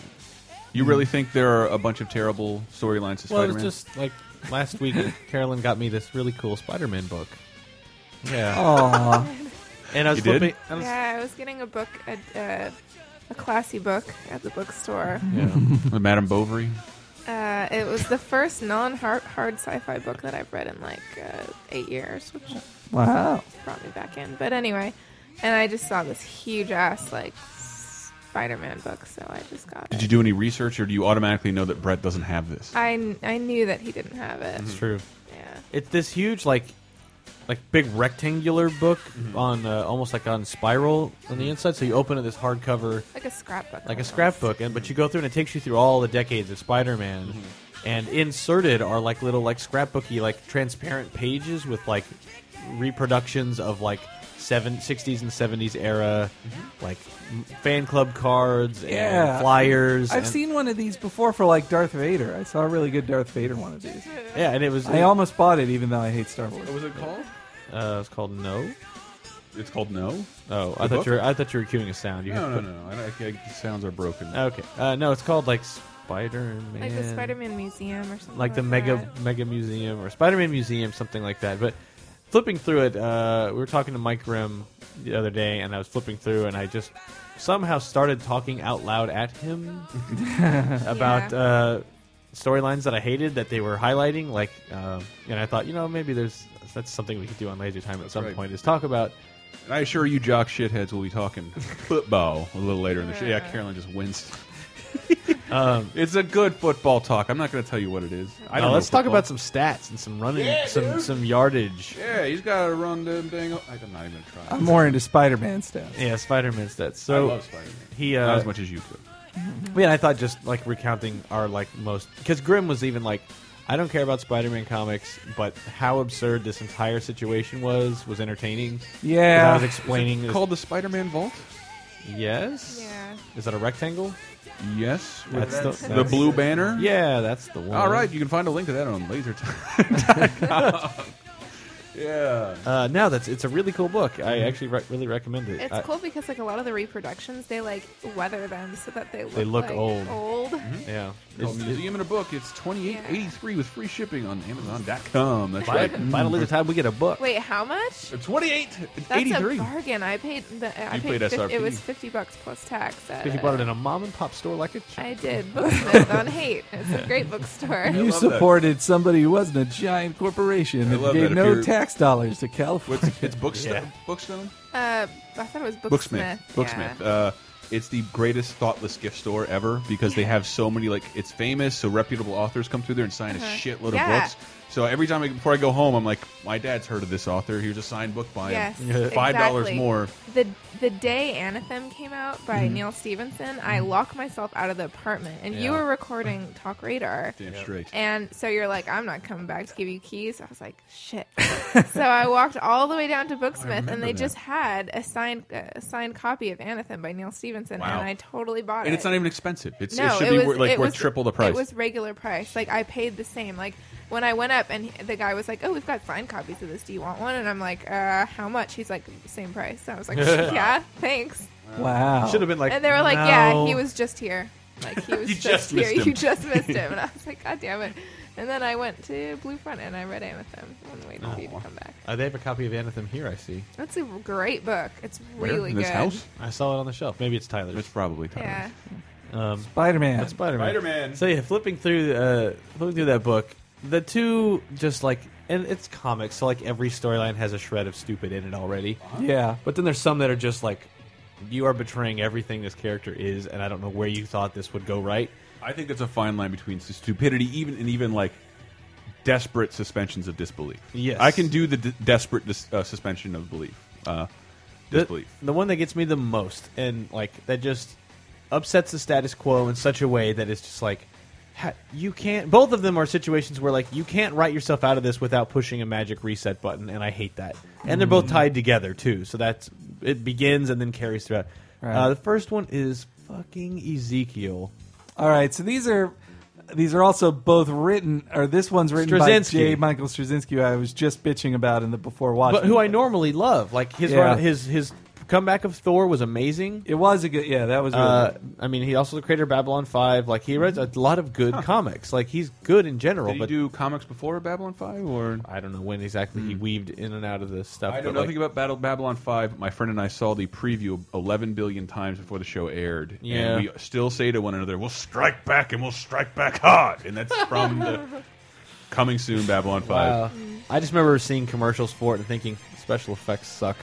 You really think there are a bunch of terrible storylines to
Hmm. Well,
Spider
it's
Man?
just like last week, Carolyn got me this really cool Spider-Man book. Yeah.
Aw.
And I was
You did?
flipping. I was,
Yeah, I was getting a book, a, uh, a classy book at the bookstore.
Mm-hmm.
Madame Bovary.
Uh, it was the first non-hard hard sci-fi book that I've read in like uh, eight years, which
wow.
brought me back in. But anyway, and I just saw this huge ass like Spider-Man book, so I just got
Did
it.
you do any research, or do you automatically know that Brett doesn't have this?
I, kn- I knew that he didn't have it.
it's true.
Yeah.
hmm. It's this huge, like, like big rectangular book
Mm-hmm.
on uh, almost like on spiral on the inside. So you open it this hardcover,
Like a scrapbook.
like a
almost.
scrapbook, and but you go through and it takes you through all the decades of Spider-Man. And inserted are like little like scrapbooky like transparent pages with like reproductions of like seven, 60s and seventies era like m- fan club cards
Yeah.
and flyers.
I've
and-
seen one of these before for like Darth Vader. I saw a really good Darth Vader one of these.
yeah, and it was
I almost bought it, even though I hate Star Wars.
What was it called?
uh, it's called No.
It's called No.
Oh, I thought
book?
you were I thought you were cueing a sound. You
No, no,
had-
no. I, don't- I, I, sounds are broken.
Okay, uh, no, it's called like Spider-Man.
Like the Spider-Man museum or something.
like the mega
that.
mega museum or Spider-Man museum, something like that. But flipping through it, uh, we were talking to Mike Grimm the other day, and I was flipping through, and I just somehow started talking out loud at him about
Yeah.
uh, storylines that I hated that they were highlighting. Like, uh, and I thought, you know, maybe there's that's something we could do on Laser Time at some
right.
point is talk about.
And I assure you, jock shitheads will be talking football a little later in the show. Yeah, Carolyn just winced. it's a good football talk. I'm not going to tell you what it is. I
Uh,
don't
let's
know
talk about some stats and some running, some some yardage.
football. Yeah, he's got to run them thing. o- I'm not even going to try.
I'm more into Spider-Man stuff.
Yeah, Spider-Man
I
stats. So
love Spider-Man.
he uh,
not as much as you could.
Yeah, I thought just like recounting our like most because Grimm was even like I don't care about Spider-Man comics, but how absurd this entire situation was was entertaining. 'Cause
Yeah.
I was explaining this-
Called the Spider-Man Vault.
Yes.
Yeah.
Is that a rectangle?
Yes, with
That's, the,
the
that's-
blue banner.
Yeah, that's the one.
All right, you can find a link to that on laser yeah.
Uh, no, that's it's a really cool book. I
Mm-hmm.
actually re- really recommend it.
It's
I-
cool because like a lot of the reproductions, they like weather them so that they look,
They look
like,
old. Mm-hmm.
Old.
Yeah.
Called
It's-
Museum in a Book. It's twenty eight eighty three with free shipping on Amazon.com. That's
By,
right.
by the later
Mm-hmm.
time we get a book.
Wait, how much?
Twenty eight
That's
eighty three.
a bargain. I paid. The, I
You
paid.
paid
fif-
SRP.
It was fifty bucks plus tax. At,
If you bought it in a mom and pop store like a ch-
uh, I did Booksmith on Hate. It's a great bookstore.
You
love that.
supported somebody who wasn't a giant corporation
I
and
love that.
gave
If
no
you're-
tax dollars to California.
What's it's Bookstone?
Yeah.
Bookstone?
Uh, I thought it was
Booksmith.
Booksmith.
Booksmith.
Yeah.
Uh, it's the greatest thoughtless gift store ever because they have so many like it's famous, so reputable authors come through there and sign a shitload
Uh-huh. Yeah.
of books. So every time I, before I go home, I'm like, my dad's heard of this author. Here's a signed book by
Yes,
him. Five dollars
exactly.
more. Mm-hmm.
The the day Anathem came out by Neil Stevenson, I locked myself out of the apartment, and you
Yeah.
were recording Talk Radar.
Damn straight.
And so you're like, I'm not coming back to give you keys. I was like, shit. so I walked all the way down to Booksmith, and
remember
they
that.
just had a signed a signed copy of Anathem by Neil Stevenson,
Wow.
and I totally bought
And
it.
it's not even expensive. It's,
no,
it should
it
be
was
worth, like
it
worth
was-
triple the price.
It was regular price. Like I paid the same. Like when I went up, and he- the guy was like, "Oh, we've got signed copies of this. Do you want one?" And I'm like, "Uh, how much?" He's like, "Same price." So I was like, "Yeah, thanks."
wow.
Should have been like.
And they were like,
no.
"Yeah, he was just here. Like he was
You
just,
just
here.
missed him."
You just missed him." And I was like, "God damn it!" And then I went to Blue Front and I read Amethyst and waited for you to come back.
Uh, they have a copy of Anathem here. I see.
That's a great book. It's
Where?
really
in this
good.
house.
I saw it on the shelf. Maybe it's Tyler's.
It's probably Tyler's.
Yeah.
Um,
Spider Man.
that's Spider-Man.
Spider-Man.
So yeah, flipping through, uh, flipping through that book, the two just like, and it's comics, so like every storyline has a shred of stupid in it already.
Yeah.
But then there's some that are just like, you are betraying everything this character is, and I don't know where you thought this would go right.
I think it's a fine line between stupidity, even and even like desperate suspensions of disbelief.
Yes.
I can do the d desperate dis uh, suspension of belief, uh,
the,
disbelief.
the one that gets me the most and like that just upsets the status quo in such a way that it's just like ha- you can't both of them are situations where like you can't write yourself out of this without pushing a magic reset button and i hate that and they're
Mm.
both tied together too so that's it begins and then carries throughout
Right.
uh, the first one is fucking ezekiel
All right. So these are these are also both written, or this one's written
Straczynski.
by J. Michael Straczynski, who I was just bitching about in the before watching.
but who i normally love like his
Yeah.
run- his his comeback of thor was amazing
It was a good. Yeah, that was. Really
Uh,
good.
I mean, he also the creator of Babylon Five. Like he reads a lot of good comics. Like he's good in general,
Did he
but
do comics before Babylon Five, or
I don't know when exactly he weaved in and out of this stuff.
Hmm. I know
but, like,
nothing about Battle Babylon Five. but My friend and I saw the preview eleven billion times before the show aired,
Yeah.
and we still say to one another, "We'll strike back, and we'll strike back hard," and that's from the coming soon Babylon Five.
uh, I just remember seeing commercials for it and thinking special effects suck.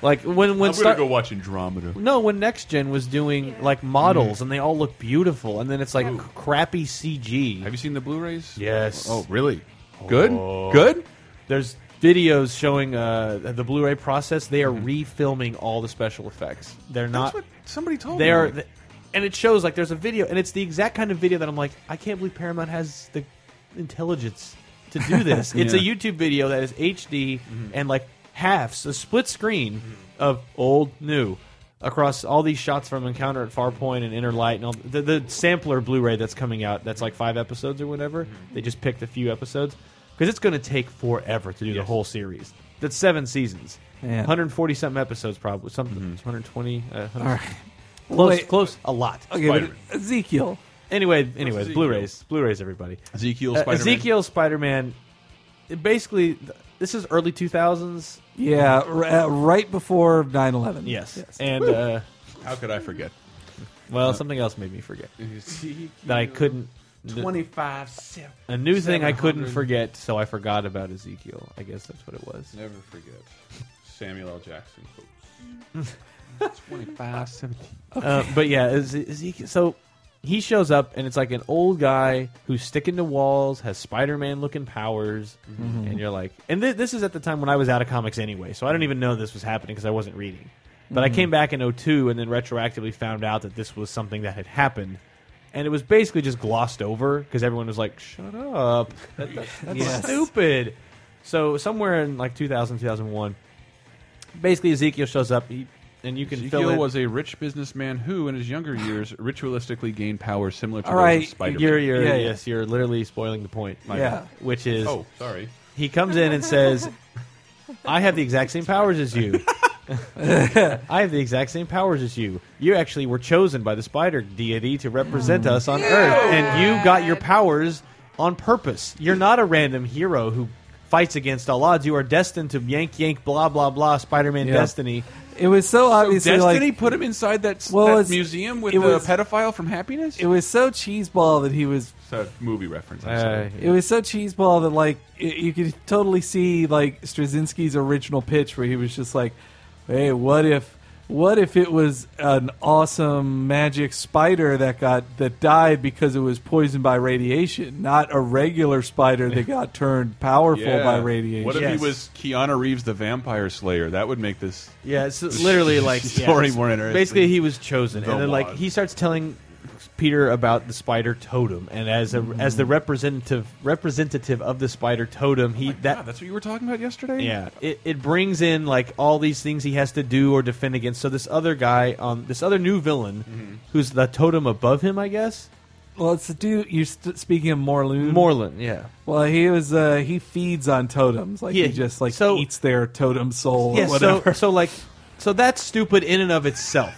like when when
I'm gonna
Star-
go watch Andromeda.
no when Next Gen was doing
Yeah.
like models
Hmm.
and they all look beautiful, and then it's like crappy CG.
Have you seen the Blu-rays?
Yes.
Oh, really? Oh. Good. Good.
There's videos showing uh, the Blu-ray process. They are refilming all the special effects. They're not.
Mm-hmm. That's what somebody told
they are
me.
th- and it shows like there's a video and it's the exact kind of video that i'm like i can't believe paramount has the intelligence to do this it's a
Yeah. Mm-hmm.
youtube video that is hd and like halves a split screen of old new across all these shots from encounter at farpoint and inner light and all the, the sampler blu-ray that's coming out that's like five episodes or whatever
Mm-hmm.
they just picked a few episodes because it's going to take forever to do the whole series that's seven seasons
Yeah.
140 something episodes probably something
Mm-hmm.
120 uh,
All right.
Close,
Wait.
close, a lot.
Okay, but Ezekiel.
Anyway, anyways,
Ezekiel?
Blu-rays, Blu-rays, everybody.
Ezekiel
Uh,
Spider-Man.
Ezekiel Spider-Man. it Basically, th- this is early two thousands.
Yeah, r- uh, right before 9-11.
and uh,
How could I forget? Uh,
well, something else made me forget that I couldn't.
Twenty-five seven.
A new thing I couldn't
700.
forget, so I forgot about Ezekiel. I guess that's what it was.
Never forget Samuel L. Jackson quotes. Twenty-five seventeen.
Uh, but yeah, Ez- Ezekiel. So he shows up, and it's like an old guy who's sticking to walls, has Spider-Man looking powers, and you're like, and th- this is at the time when I was out of comics anyway, so I don't even know this was happening because I wasn't Mm-hmm. oh reading. But I came back in 02 and then retroactively found out that this was something that had happened, and it was basically just glossed over because everyone was like, "Shut up, That- that- that's
Yes.
stupid." So somewhere in like 2000, 2001, basically Ezekiel shows up, he, and you can fill
Ezekiel
in.
was a rich businessman who, in his younger years, ritualistically gained powers similar to
All
those
right,
of Spider-Man.
you're, you're,
Yeah, yeah.
yes, you're literally spoiling the point.
Yeah.
which is
oh, sorry.
he comes in and says, "I have the exact same powers as you. I have the exact same powers as you. You actually were chosen by the spider deity to represent us on Earth, and you got your powers on purpose. You're not a random hero who." Fights against all odds. You are destined to yank, yank, blah, blah, blah. Spider-Man,
Yeah.
destiny.
It was so obviously
Destiny
like
put him inside that,
Well,
that
it's-
museum with
it
the
was-
pedophile from Happiness.
it was so cheeseball that he was
it's a movie reference.
Uh,
I'm sorry.
It was so cheeseball that like it, you could totally see like Straczynski's original pitch where he was just like, "Hey, what if what if it was an awesome magic spider that got that died because it was poisoned by radiation, not a regular spider that got turned powerful
Yeah.
by radiation."
What if
Yes.
he was Keanu Reeves, the Vampire Slayer? That would make this.
Yeah, it's literally like
Story
yeah,
more interesting.
Basically, he was chosen,
The
and then like
one.
he starts telling Peter about the spider totem, and as a as the representative representative of the spider totem, he that.
Oh God, that's what you were talking about yesterday.
yeah, it, it brings in like all these things he has to do or defend against. So this other guy, um, this other new villain,
Mm-hmm.
who's the totem above him, I guess,
Well, it's the dude you st- speaking of Morloon.
Mm-hmm.
Morlun. Yeah,
Well, he was uh, he feeds on totems, like
Yeah,
he just like
so-
eats their totem soul.
yeah.
or whatever.
So, so like, so that's stupid in and of itself.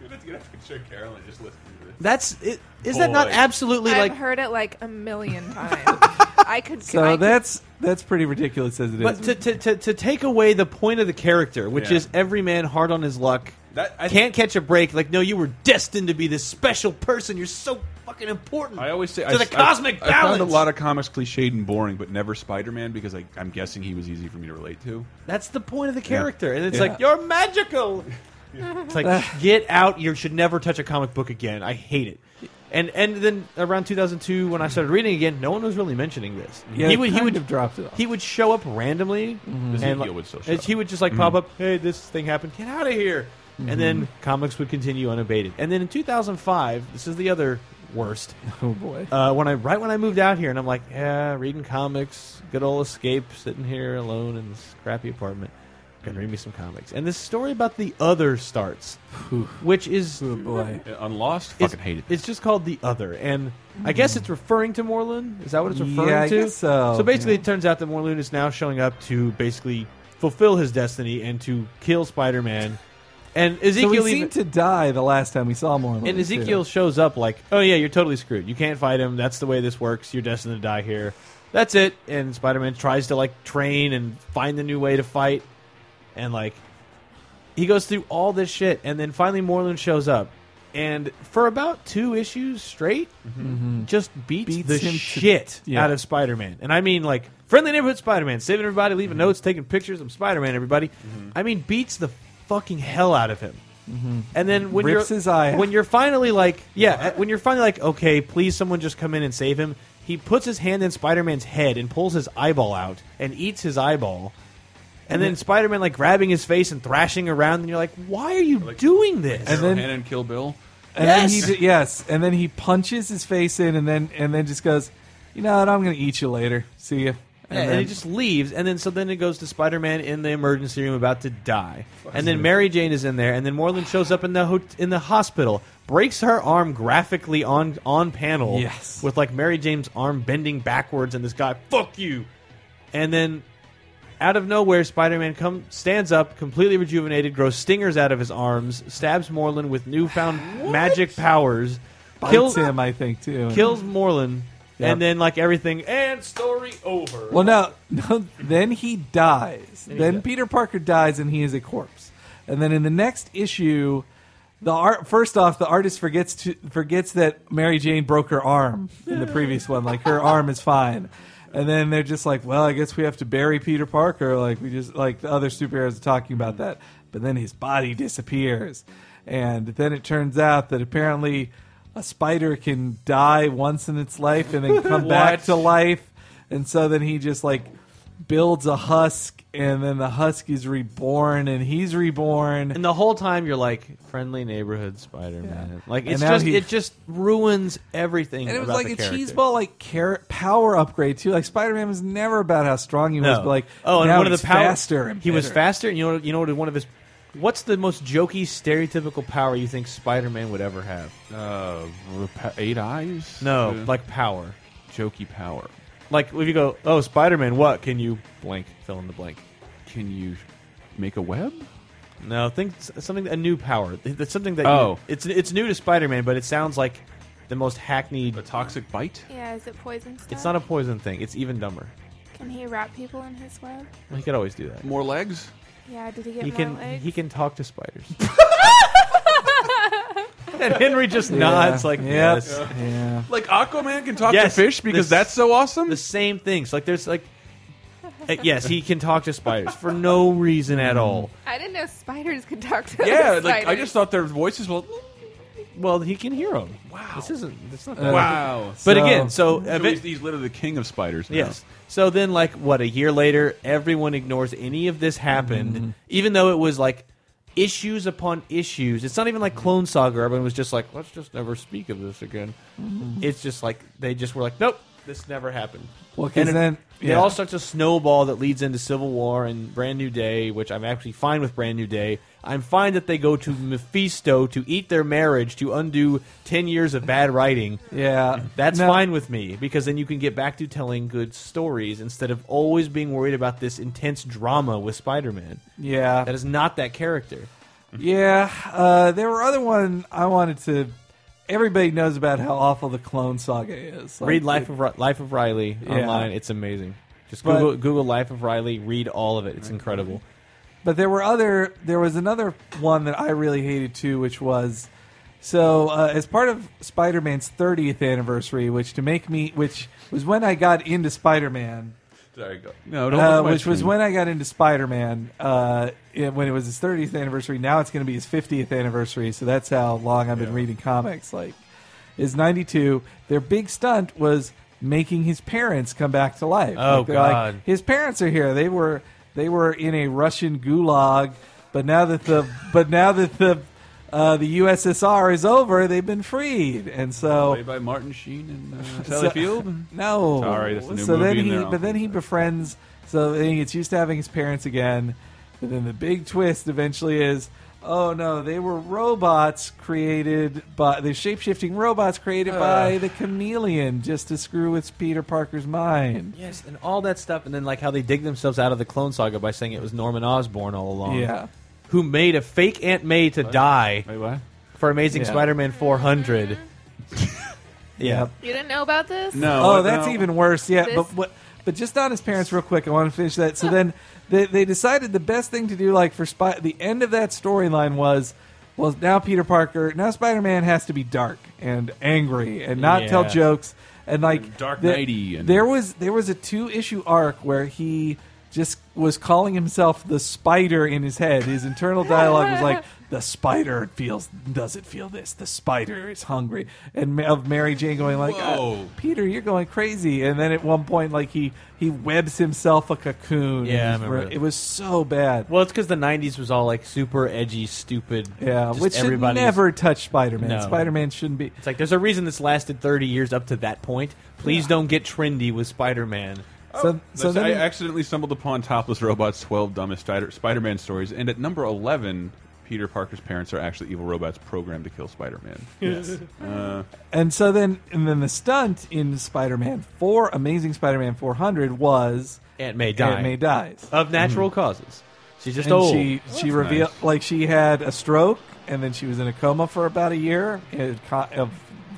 You're going to picture of Carolyn just listening to this.
That's is that not
Boy.
absolutely
I've
like
heard it like a million times. I could.
So
I could-
that's that's pretty ridiculous as it is.
But to, to, to, to take away the point of the character, which
Yeah.
is every man hard on his luck,
That- I
can't catch a break. Like, no, you were destined to be this special person. You're so fucking important.
I always say
to
I,
the cosmic
I,
balance.
I found a lot of comics cliched and boring, but never Spider-Man because I, I'm guessing he was easy for me to relate to.
That's the point of the character, and it's
Yeah.
like you're magical. It's like get out. You should never touch a comic book again. I hate it. And and then around 2002, when I started reading again, no one was really mentioning this.
yeah,
he would he
kind
would
of dropped it. Off.
He would show up randomly, and
Mm-hmm. Ezekiel
like,
would still show
and
up.
he would just like pop up. Hey, this thing happened. Get out of here! And then comics would continue unabated. And then in 2005, this is the other worst.
oh boy.
Uh, when I right when I moved out here, and I'm like, yeah, reading comics, good old escape, sitting here alone in this crappy apartment. Gonna read me some comics. And this story about the other starts, which is
Oh boy.
Uh, On Lost,
it's,
fucking hated.
It's just called the other, and I guess it's referring to Morlun. Is that what it's referring
Yeah, I
to?
guess so.
basically,
Yeah.
it turns out that Morlun is now showing up to basically fulfill his destiny and to kill Spider-Man. And
So
Ezekiel
he
even-
seemed to die the last time we saw Morlun.
and Ezekiel shows up like, "Oh yeah, you're totally screwed. You can't fight him. That's the way this works. You're destined to die here. That's it." And Spider-Man tries to like train and find a new way to fight, and like he goes through all this shit, and then finally Moreland shows up, and for about two issues straight, just beats,
Mm-hmm. Beats
the
him to-
shit
Yeah.
out of Spider-Man, and I mean like friendly neighborhood Spider-Man, saving everybody,
Mm-hmm.
leaving notes, taking pictures. I'm Spider-Man, everybody. I mean, beats the fucking hell out of him. And then when
Rips
you're
his eye out.
when you're finally like yeah uh, when you're finally like okay please someone just come in and save him he puts his hand in Spider-Man's head and pulls his eyeball out and eats his eyeball and then Spider-Man like grabbing his face and thrashing around and you're like why are you doing this
and
Daryl
then-
Hannah and Kill Bill.
And
Yes!
Then he, d- yes, and then he punches his face in, and then and then just goes, you know what? I'm going to eat you later. See you.
and, he just leaves and then so then it goes to Spider-Man in the emergency room about to die and then Mary Jane is in there and then Moreland shows up in the ho- in the hospital breaks her arm graphically on on panel
Yes.
with like Mary Jane's arm bending backwards and this guy fuck you and then out of nowhere Spider-Man come stands up completely rejuvenated grows stingers out of his arms stabs Moreland with newfound magic powers
bites
kills
him, I think too. and-
kills Moreland
Yep.
and then like everything and story over
Well, no, no. Then he dies.
he
then
dies.
Peter Parker dies, and he is a corpse. And then in the next issue, the art. First off, the artist forgets to forgets that Mary Jane broke her arm in the previous one. Like her arm is fine. And then they're just like, well, I guess we have to bury Peter Parker. Like we just like the other superheroes are talking about that. But then his body disappears, and then it turns out that apparently. A spider can die once in its life and then come back
What?
to life and so then he just like builds a husk, and then the husk is reborn, and he's reborn.
And the whole time you're like friendly neighborhood Spider-Man. Like
And
it's
now
just
he-
it just ruins everything.
and it was
about
like
the
a
character.
cheeseball like carrot power upgrade too. Like Spider Man was never about how strong he was,
No.
but like
oh, and
now
one of
he's
the power,
faster. And
he was
better.
faster, and you know you know what one of his. What's the most jokey stereotypical power you think Spider-Man would ever have?
Uh, rep- eight eyes?
No,
Uh,
like power.
jokey power.
Like if you go, oh Spider-Man, what can you blank? Fill in the blank.
Can you make a web?
No, think s- something a new power. Th- That's something that
Oh.
you, it's it's new to Spider-Man, but it sounds like the most hackneyed.
A toxic bite?
Yeah, is it poison stuff?
It's not a poison thing. It's even dumber.
Can he wrap people in his web?
He could always do that.
More legs?
Yeah, did he get
He
more
can
legs?
he can talk to spiders. and Henry just nods like
yeah.
yes.
yeah.
Like Aquaman can talk
Yes,
to fish because
this-
that's so awesome?
The same things. Like there's like uh, yes, he can talk to spiders for no reason at all.
Mm.
I didn't know spiders could talk to
yeah,
other
like I
spiders.
just thought their voices were.
Well, he can hear them.
Wow.
This isn't this not that.
Wow.
But
Uh, So-
again, so,
So
evi-
he's, he's literally the king of spiders. now.
Yes. So then, like, what, a year later, everyone ignores any of this happened, even though it was like issues upon issues. It's not even like Clone Saga. Everyone was just like, let's just never speak of this again. It's just like, they just were like, nope, this never happened.
Well, 'cause
And
then-
it
yeah.
all starts a snowball that leads into Civil War and Brand New Day, which I'm actually fine with Brand New Day. I'm fine that they go to Mephisto to eat their marriage to undo 10 years of bad writing.
Yeah.
That's
No,
fine with me because then you can get back to telling good stories instead of always being worried about this intense drama with Spider-Man.
Yeah.
That is not that character.
Yeah, uh, there were other one I wanted to. Everybody knows about how awful the Clone Saga is. Like,
Read Life of Ri- Life of Riley
Yeah.
online; it's amazing. Just
But-
Google Google Life of Riley. Read all of it; it's incredible.
But there were other. There was another one that I really hated too, which was so uh, as part of Spider-Man's 30th anniversary, which to make me, which was when I got into Spider-Man,
Sorry, go. No, don't
uh,
look at my
which was
screen.
when I got into Spider-Man. Uh, it- when it was his 30th anniversary, now it's going to be his 50th anniversary. So that's how long I've been reading comics. Like, is 92. Their big stunt was making his parents come back to life.
Oh,
Like, they're like,
God.
his parents are here. They were they were in a Russian gulag, but now that the but now that the uh, the USSR is over, they've been freed, and
Oh,
so
Played by Martin Sheen and uh,
So-
Sally Field.
no.
Sorry, that's the new
so
movie
then
and
he,
they're all
but then he
things like
befriends. So then he gets used to having his parents again. But then the big twist eventually is, oh no, they were robots created by the shape shifting robots created by the chameleon just to screw with Peter Parker's mind.
Yes, and all that stuff, and then like how they dig themselves out of the Clone Saga by saying it was Norman Osborn all along,
Yeah.
who made a fake Aunt May to die
Wait, what?
for Amazing
Yeah.
Spider-Man 400. yeah,
Yep.
You didn't know about this?
No.
Oh, that's
no.
even worse. Yeah,
This-
but what? But just on his parents, real quick. I want to finish that. So then they, they decided the best thing to do, like for Spy, the end of that storyline was, well, now Peter Parker, now Spider Man has to be dark and angry and not tell
Yeah.
jokes and like
Dark
the-
Knighty and-
There was there was a two issue arc where he just was calling himself the spider in his head. His internal dialogue was like, "The spider feels does it feel this? The spider is hungry." And Ma- of Mary Jane going like,
Whoa.
"Uh, Peter, you're going crazy. And then at one point, like he he webs himself a cocoon.
Yeah,
And
I remember
re-
that.
it was so bad.
Well, it's because the '90s was all like super edgy, stupid.
yeah,
just
which should
everybody was-
never touch Spider Man.
No.
Spider Man shouldn't be.
It's like there's a reason this lasted 30 years up to that point. Please don't get trendy with Spider-Man.
So, so
Listen,
then
I accidentally stumbled upon Topless Robots 12 Dumbest Spider- Spider-Man Stories, and at number 11, Peter Parker's parents are actually evil robots programmed to kill Spider-Man. Yes. uh,
and so then and then the stunt in Spider Man Four, Amazing Spider Man Four hundred was
Aunt May died
Aunt May dies.
of natural causes. She's just
and
old.
she she revealed like she had a stroke and then she was in a coma for about a year in co- of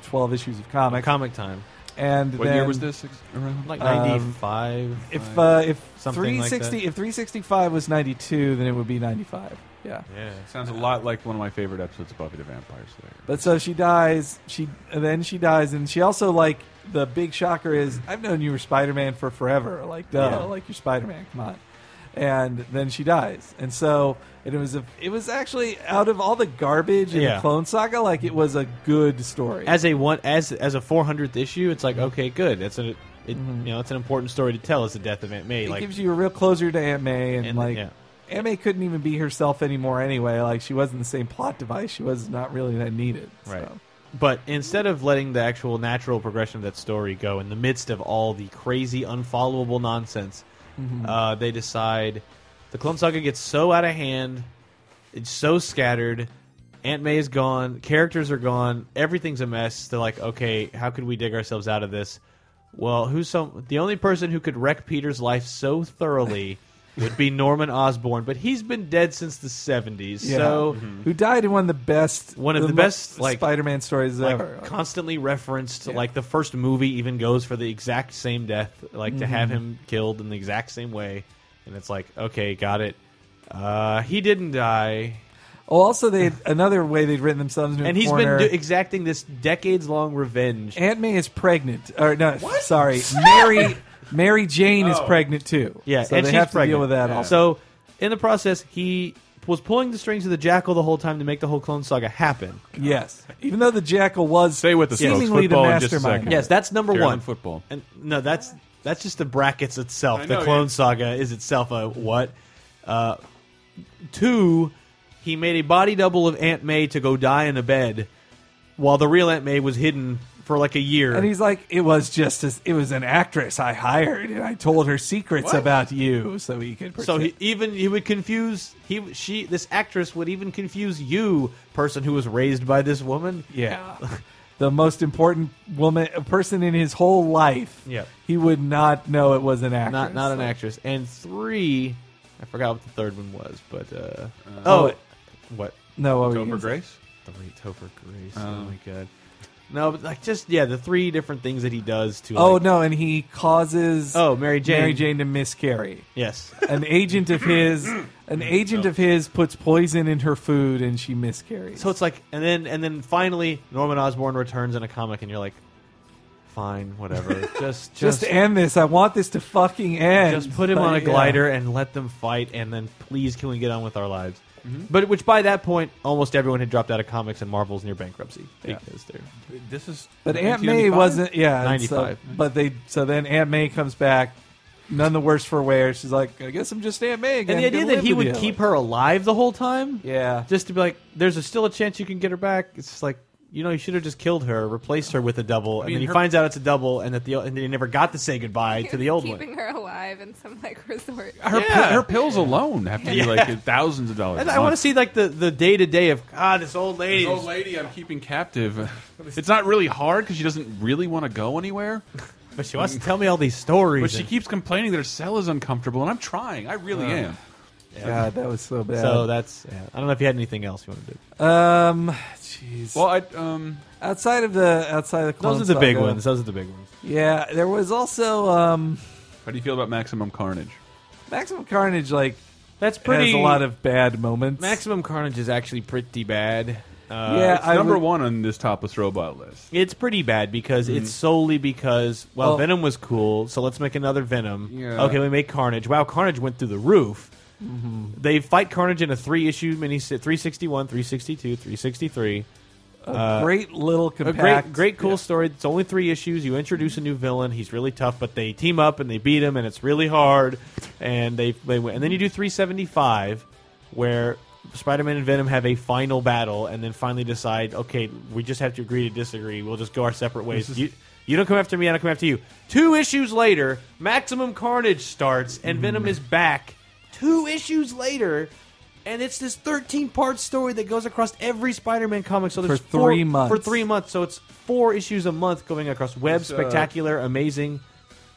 twelve issues of comics.
comic time,
and
what
then,
year was this? ex- Around?
like
Um,
95.
If uh, if
Something
three
like
sixty
that.
if three sixty five was ninety two, then it would be ninety five. Yeah.
yeah.
Sounds a lot like one of my favorite episodes of Buffy the Vampire Slayer.
But so she dies. She and then she dies, and she also like the big shocker is I've known you were Spider Man for forever. Like duh,
Yeah.
like you're Spider Man. Come on. And then she dies, and so and it was a it was actually out of all the garbage in
Yeah.
the Clone Saga, like it was a good story. Mm-hmm.
As a one as as a 400th issue, it's like okay, good. That's a It, You know, it's an important story to tell. Is the death of Aunt May?
It
like,
gives you a real closure to Aunt May, and,
And-
like
yeah.
Aunt May couldn't even be herself anymore anyway. Like she wasn't the same plot device. She was not really that needed.
Right.
So.
But instead of letting the actual natural progression of that story go in the midst of all the crazy, unfollowable nonsense, uh, they decide the Clone Saga gets so out of hand, it's so scattered. Aunt May is gone, characters are gone, everything's a mess. They're like, okay, how could we dig ourselves out of this? Well, who's some? The only person who could wreck Peter's life so thoroughly would be Norman Osborn, but he's been dead since the seventies.
Yeah. Mm-hmm.
So.
who died in one of the best,
One of the
mo-
best, like-
Spider-Man stories
like
ever. Like,
constantly referenced.
Yeah.
Like the first movie even goes for the exact same death, like to have
Mm-hmm.
him killed in the exact same way, and it's like, okay, got it. Uh, he didn't die,
oh, also, they another way they'd written themselves into
and
a
he's
corner.
been do- exacting this decades long revenge.
Aunt May is pregnant. Or no, sorry, Mary. Mary Jane is pregnant too.
Oh. yeah,
so
and
they
she's
have to
pregnant.
deal with that. Also,
So in the process, he was pulling the strings of the jackal the whole time to make the whole clone saga happen.
yes, even though the jackal was
Stay with us, folks.
seemingly the
Football in just a
mastermind.
second.
Yes, that's number
Carolyn
one.
football.
And no, that's that's just the brackets itself.
I
the
know,
Clone
yeah.
Saga is itself a what? Uh, two, he made a body double of Aunt May to go die in a bed, while the real Aunt May was hidden for like a year.
And he's like, it was just as it was an actress I hired, and I told her secrets about you, so he could.
so
Pretend.
he even he would confuse he she this actress would even confuse you person who was raised by this woman
yeah, the most important woman person in his whole life.
Yeah.
he would not know it was an actress.
not not an
Like,
actress and three I forgot what the third one was but uh, oh
it-
what
No, oh, what were you
Topher
gonna say?
Grace.
The late Topher Grace. oh my god. No, but like just yeah, the three different things that he does to.
Oh
like-
no, and he causes
Oh, Mary Jane.
Mary Jane to miscarry.
Yes.
An agent of his, an agent of his puts poison in her food, and she miscarries.
So it's like, and then and then finally, Norman Osborn returns in a comic, and you're like, fine, whatever. just
just,
just
end this. I want this to fucking end.
just put him
Like,
on a
yeah.
glider and let them fight, and then please can we get on with our lives?
Mm-hmm.
But which by that point, almost everyone had dropped out of comics, and Marvel's near bankruptcy
Yeah.
because they're
This is.
But Aunt May
1995?
wasn't. Yeah, and so-
95.
but they. So then Aunt May comes back, none the worse for wear. She's like, I guess I'm just Aunt May again.
and the idea
Gonna
that he
live with
would
you."
keep her alive the whole time.
Yeah.
just to be like, there's a, still a chance you can get her back. It's just like, you know, you should have just killed her, replaced her with a double, and
mean,
then he
her-
finds out it's a double, and that the and they never got to say goodbye to the old
keeping
one.
her alive in some like resort.
Her,
Yeah.
pi- her pills alone have to be
Yeah.
like thousands of dollars.
And
a
I want to
month.
see like the the day to day of God, this old lady.
This old lady I'm keeping captive. It's not really hard because she doesn't really want to go anywhere,
but she wants to tell me all these stories.
but she
and-
keeps complaining that her cell is uncomfortable, and I'm trying. I really am.
God, that was so bad.
so that's. yeah. I don't know if you had anything else you wanted to. do.
um, jeez.
Well, I um,
outside of the outside of the
Those
Clone
are the big
Saga-
ones. Those are the big ones.
Yeah, there was also um,
how do you feel about Maximum Carnage?
Maximum Carnage. Like,
That's pretty.
has a lot of bad moments.
Maximum Carnage is actually pretty bad. Uh,
Yeah,
It's
I
number
would-
one on this topless robot list.
It's pretty bad because it's solely because well,
Well-
Venom was cool, so let's make another Venom.
Yeah.
Okay, we make Carnage. Wow, Carnage went through the roof. They fight Carnage in a three issue mini three sixty one, three sixty two, three sixty three.
a Uh, great little
A
compact,
great, great, cool story. It's only three issues. You introduce a new villain. He's really tough, but they team up and they beat him, and it's really hard. And they, they win. and then you do three seventy five, where Spider Man and Venom have a final battle, and then finally decide, okay, we just have to agree to disagree. We'll just go our separate ways. you, you don't come after me. I don't come after you. Two issues later, Maximum Carnage starts, and
Mm.
Venom is back. Two issues later. And it's this 13 part story that goes across every Spider Man comic. So there's
For
four-
three months.
For three months. So it's four issues a month going across web,
It's, uh,
spectacular, amazing.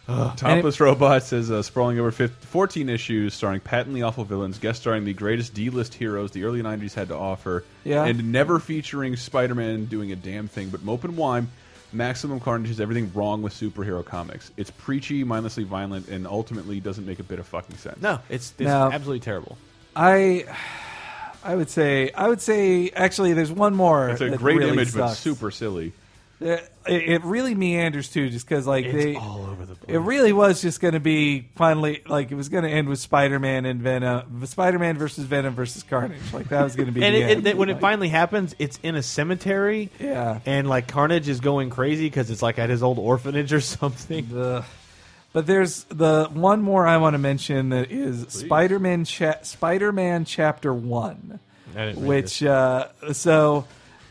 Topless Robot says uh, sprawling over 15, 14 issues, starring patently awful villains, guest starring the greatest D-list heroes the early '90s had to offer,
Yeah.
and never featuring Spider-Man doing a damn thing. But mope and wine, Maximum Carnage is everything wrong with superhero comics. It's preachy, mindlessly violent, and ultimately doesn't make a bit of fucking sense.
No, it's, it's
No.
absolutely terrible.
I I would say I would say actually there's one more.
it's a
that
great
really
image, but
sucks.
super silly.
There- It, it really meanders too, just because like
It's
they
all over the place.
It really was just going to be finally like it was going to end with Spider-Man and Venom, Spider-Man versus Venom versus Carnage. Like that was going to be
and
the
it,
end.
it, that- when it
Like,
finally happens, it's in a cemetery.
Yeah.
And like Carnage is going crazy because it's like at his old orphanage or something.
the- uh, But there's the one more I want to mention that is Spider-Man cha- Spider-Man Chapter 1,
I didn't read
which uh, so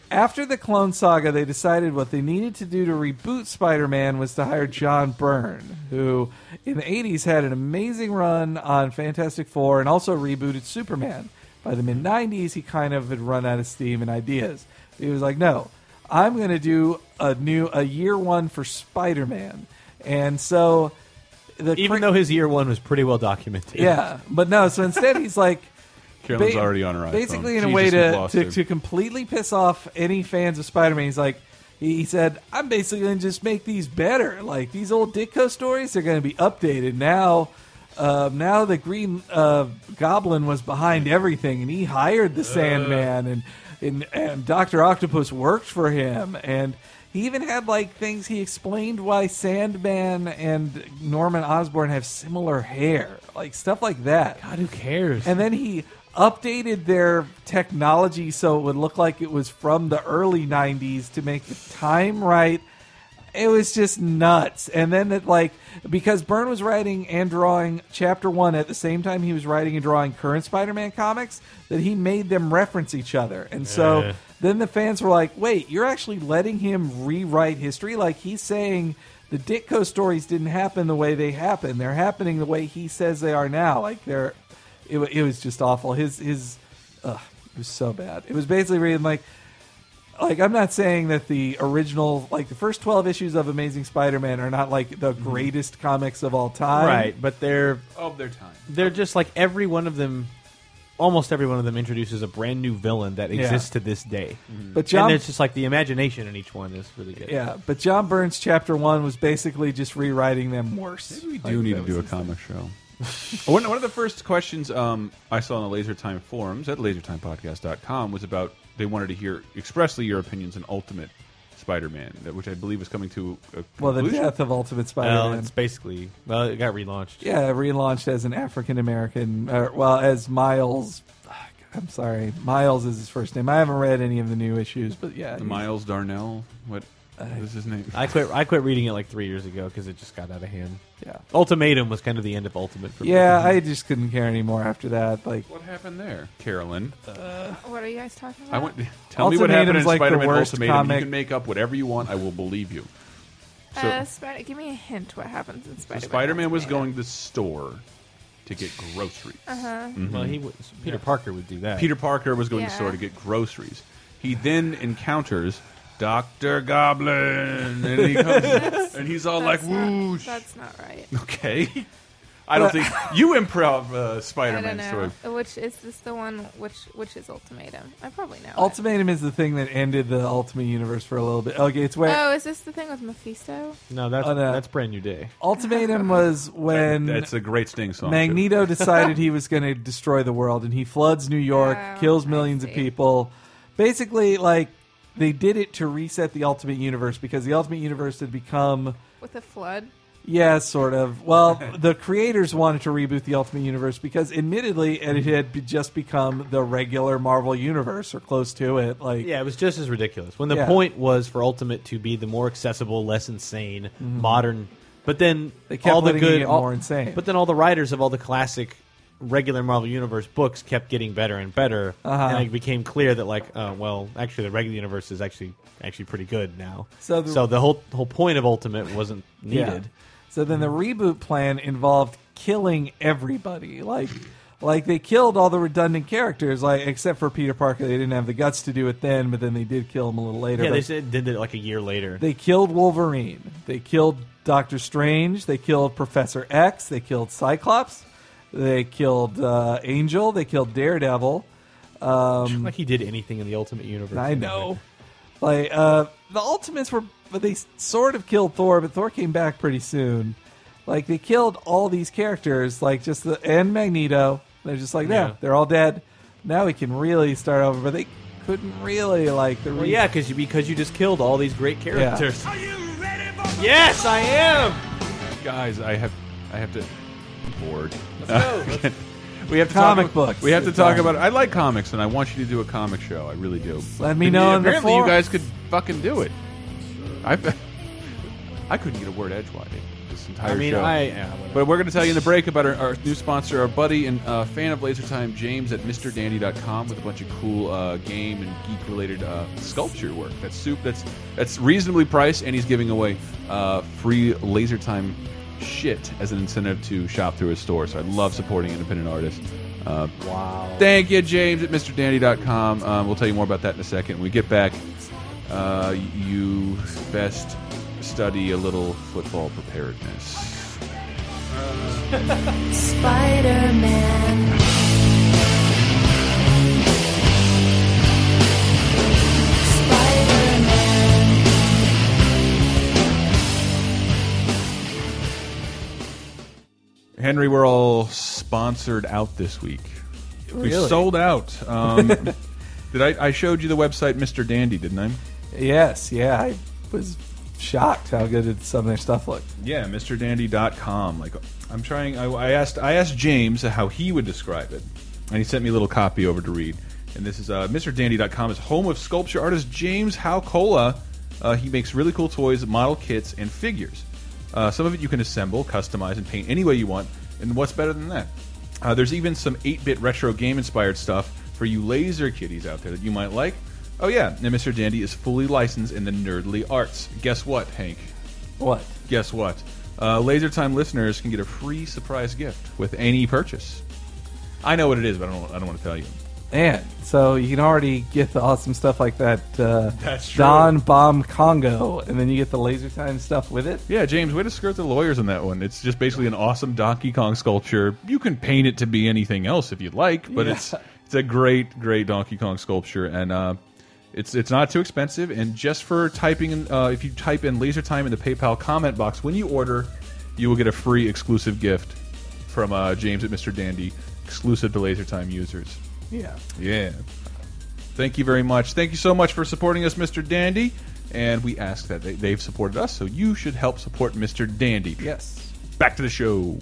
after the Clone Saga, they decided what they needed to do to reboot Spider-Man was to hire John Byrne, who in the 80s had an amazing run on Fantastic 4 and also rebooted Superman. By the mid 90s, he kind of had run out of steam and ideas. He was like, "No, I'm going to do a new a year one for Spider-Man." And so the
Even
cra-
though his year one was pretty well documented.
yeah, but no. So instead, he's like,
Carolyn's already on her iPhone.
Basically, in a
Jesus,
way
we've
to,
lost
to,
him.
to completely piss off any fans of Spider-Man, he's like, he he said, "I'm basically going to just make these better. Like these old Ditko stories, they're going to be updated now." Um, now the Green uh, Goblin was behind everything, and he hired the Sandman, and and, and Doctor Octopus worked for him, and he even had like things he explained why Sandman and Norman Osborn have similar hair, like stuff like that.
God, who cares?
And then he updated their technology so it would look like it was from the early 90s to make the time right. It was just nuts. And then it like because Byrne was writing and drawing chapter 1 at the same time he was writing and drawing current Spider-Man comics that he made them reference each other. And so
Yeah.
then the fans were like, "Wait, you're actually letting him rewrite history? Like he's saying the Ditko stories didn't happen the way they happened. They're happening the way he says they are now. Like they're, it, wa- it was just awful. His his, ugh, it was so bad. It was basically reading like, like I'm not saying that the original, like the first twelve issues of Amazing Spider-Man are not like the greatest comics of all time,
Mm-hmm. right, but they're
of their time.
they're just like every one of them, almost every one of them introduces a brand new villain that
Yeah.
exists to this day.
But John,
and it's just like the imagination in each one is really good.
yeah, but John Burns chapter one was basically just rewriting them worse.
We do need to do a comic show. one, one of the first questions um, I saw on the Laser Time forums at lasertimepodcast.com was about they wanted to hear expressly your opinions on Ultimate Spider-Man, that- which I believe is coming to a
Well, the
conclusion.
death of Ultimate
Well,
Spider-Man.
it's basically well, it got relaunched.
Yeah, relaunched as an African American. Uh, well, as Miles. I'm sorry, Miles is his first name. I haven't read any of the new issues, but yeah,
Miles Darnell. What, what is his name?
I quit. I quit reading it like three years ago because it just got out of hand.
Yeah,
Ultimatum was kind of the end of Ultimate for me.
yeah. I just couldn't care anymore after that. Like,
what happened there, Carolyn?
What are you guys talking about?
I want tell me what
Uh, Ultimatum's
happened in
like the
Spider-Man
worst
Ultimatum.
comic-
You can make up whatever you want. I will believe you. So-
uh, Spider- give me a hint. What happens in
So
Spider-Man?
Spider-Man was
Ultimate.
going to the store to get groceries.
well,
Mhm.
he was, Peter Parker would do that.
Peter Parker was going to the
Yeah.
store to get groceries. He then encounters Doctor Goblin, and he comes, and he's all like,
That's not-
"Whoosh."
That's not right.
Okay, I don't think you improv uh,
I don't
Spider-Man
know.
story.
Which is this the one? Which which is Ultimatum? I probably know. it.
Ultimatum is the thing that ended the Ultimate Universe for a little bit. Okay, it's where
Oh, is this the thing with Mephisto?
No, that's
Oh, no.
that's brand new day.
Oh.
Ultimatum was when
That's a great Sting song. too.
Magneto decided he was going to destroy the world, and he floods New York,
Oh,
kills
I
millions of
see.
people. Basically, like they did it to reset the Ultimate Universe because the Ultimate Universe had become.
With a flood?
Yeah, sort of. Well, the creators wanted to reboot the Ultimate Universe because, admittedly, it had be- just become the regular Marvel Universe or close to it. Like,
Yeah, it was just as ridiculous. When the
Yeah.
point was for Ultimate to be the more accessible, less insane, modern, but then
Mm-hmm. They kept
all the
letting it
good,
get
all-
more insane.
But then all the writers of all the classic, regular Marvel Universe books kept getting better and better,
Uh-huh.
and it became clear that like, uh, well, actually, the regular universe is actually actually pretty good now.
So the-
so the whole whole point of Ultimate wasn't
yeah.
needed.
So then the reboot plan involved killing everybody. Like, like they killed all the redundant characters, like except for Peter Parker. They didn't have the guts to do it then, but then they did kill him a little later.
Yeah,
But-
they said did it like a year later.
They killed Wolverine. They killed Doctor Strange. They killed Professor X. They killed Cyclops. They killed uh, Angel. They killed Daredevil.
like he did anything in the Ultimate Universe.
I know. Like uh, the Ultimates were, but they sort of killed Thor, but Thor came back pretty soon. Like they killed all these characters, like just the and Magneto. They're just like, yeah,
Yeah.
they're all dead. Now we can really start over, but they couldn't really like the.
Well, yeah, because you because you just killed all these great characters.
Are you ready for the
Yes, I am.
guys, I have, I have to bored.
Let's go.
We have to
Comic
talk about-
books.
We have to
Good
talk
time.
about. I like comics, and I want you to do a comic show. I really do.
Let me
And
know in the
Apparently, you
forum.
guys could fucking do it. I, I couldn't get a word edgewise. this entire
I mean,
show.
I- yeah, whatever.
but we're going to tell you in the break about our, our new sponsor, our buddy and uh, fan of Laser Time, James at MrDandy.com, with a bunch of cool uh, game and geek related uh, sculpture work. That's soup. That's that's reasonably priced, and he's giving away uh, free Laser Time shit as an incentive to shop through his store. So I love supporting independent artists. Uh,
Wow.
Thank you, James at MrDandy.com. Um, we'll tell you more about that in a second. When we get back, uh, you best study a little football preparedness.
Spider-Man. Spider-Man.
Henry, we're all sponsored out this week. We
Really?
sold out. Um, did I, I showed you the website, Mr. Dandy, didn't I?
Yes, yeah, I was shocked how good it- some of their stuff looked.
Yeah, MrDandy.com. Like I'm trying. I, I asked. I asked James how he would describe it, and he sent me a little copy over to read. And this is uh, MrDandy.com is home of sculpture artist James Halcola. Uh, he makes really cool toys, model kits, and figures. Uh, some of it you can assemble, customize, and paint any way you want. And what's better than that? Uh, there's even some 8-bit retro game-inspired stuff for you laser kiddies out there that you might like. Oh yeah, and Mr. Dandy is fully licensed in the nerdly arts. Guess what, Hank?
What?
guess what? Uh, Laser Time listeners can get a free surprise gift with any purchase. I know what it is, but I don't. I don't want to tell you.
And so you can already get the awesome stuff like that. Uh,
That's true.
Don Bomb Congo, and then you get the laser time stuff with it.
Yeah, James, way to skirt the lawyers on that one. It's just basically an awesome Donkey Kong sculpture. You can paint it to be anything else if you'd like, but it's it's a great, great Donkey Kong sculpture, and uh, it's it's not too expensive. And just for typing, in, uh, if you type in Laser Time in the PayPal comment box when you order, you will get a free exclusive gift from uh, James at Mr. Dandy, exclusive to Laser Time users.
Yeah.
Yeah. Thank you very much. Thank you so much for supporting us, Mr. Dandy. And we ask that they, they've supported us, so you should help support Mr. Dandy.
Yes.
Back to the show.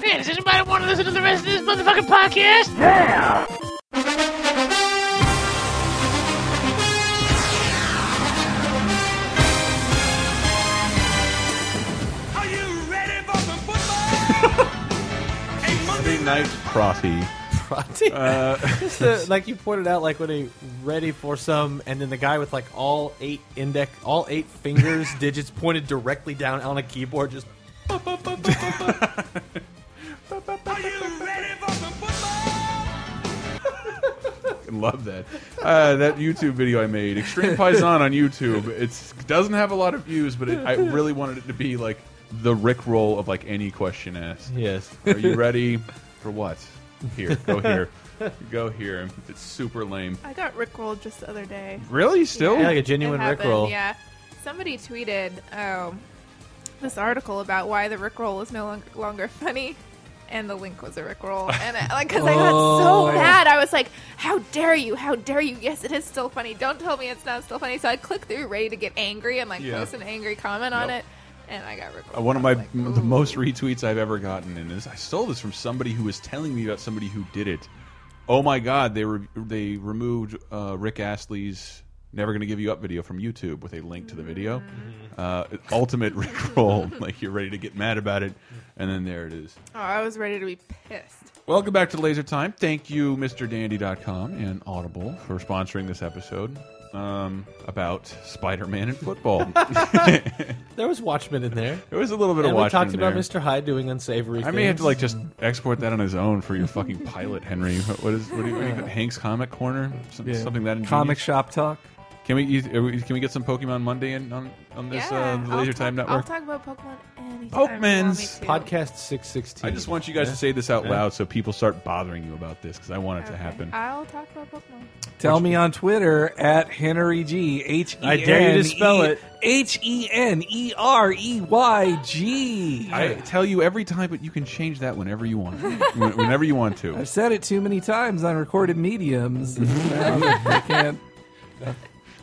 Hey, does anybody want to listen to the rest of this motherfucking podcast?
Are you ready for some football? hey, Monday
Night Frothy. Uh,
Just the, like you pointed out, like when he ready for some, and then the guy with like all eight index, all eight fingers, digits pointed directly down on a keyboard, just
Are you ready for some football?
Love that. Uh, that YouTube video I made, Extreme Paisan on YouTube. It doesn't have a lot of views, but it, I really wanted it to be like the Rick roll of like any question asked.
yes.
Are you ready for what? Here, go here. Go here. It's super lame.
I got rickrolled just the other day.
Really? Still?
Yeah, like a genuine
It happened,
Rickroll.
Yeah. Somebody tweeted um, this article about why the Rickroll is no longer, longer funny. And the link was a Rickroll, and I, like, because I got
Oh.
so mad, I was like, "How dare you? How dare you? Yes, it is still funny. Don't tell me it's not still funny." So I clicked through, ready to get angry, and like
Yeah.
post an angry comment on
Yep.
it, and I got Rickrolled.
Uh, one of my
I was like,
m- the
"Ooh."
most retweets I've ever gotten, and is I stole this from somebody who was telling me about somebody who did it. Oh my God! They re they removed uh, Rick Astley's "Never Gonna Give You Up" video from YouTube with a link to the video.
Mm.
Uh, ultimate Rick roll, like you're ready to get mad about it, and then there it is.
Oh, I was ready to be pissed.
Welcome back to Laser Time. Thank you, MrDandy.com and Audible for sponsoring this episode um, about Spider-Man and football.
There was Watchmen in there.
there was a little bit of
And we
watching
talked about
there.
Mr. Hyde doing unsavory.
I may have to like just export that on his own for your fucking pilot, Henry. What what is what do you, what do you call it? Hank's Comic Corner? Some,
Yeah.
Something that ingenious?
Comic shop talk.
Can we, use- are we can we get some Pokemon Monday in, on on this
yeah,
uh, the
I'll
Laser
talk-
Time
I'll
Network?
talk about Pokemon anytime.
Pokemans.
you want me to.
podcast six sixteen.
I just want you guys to say this out loud so people start bothering you about this because I want it to
Okay. Uh,
happen.
I'll talk about Pokemon.
Tell me on Twitter at Henry G. H E N.
I dare you to spell it.
H E N E R E Y G.
I tell you every time, but you can change that whenever you want, When- whenever you want to.
I've said it too many times on recorded mediums. I can't.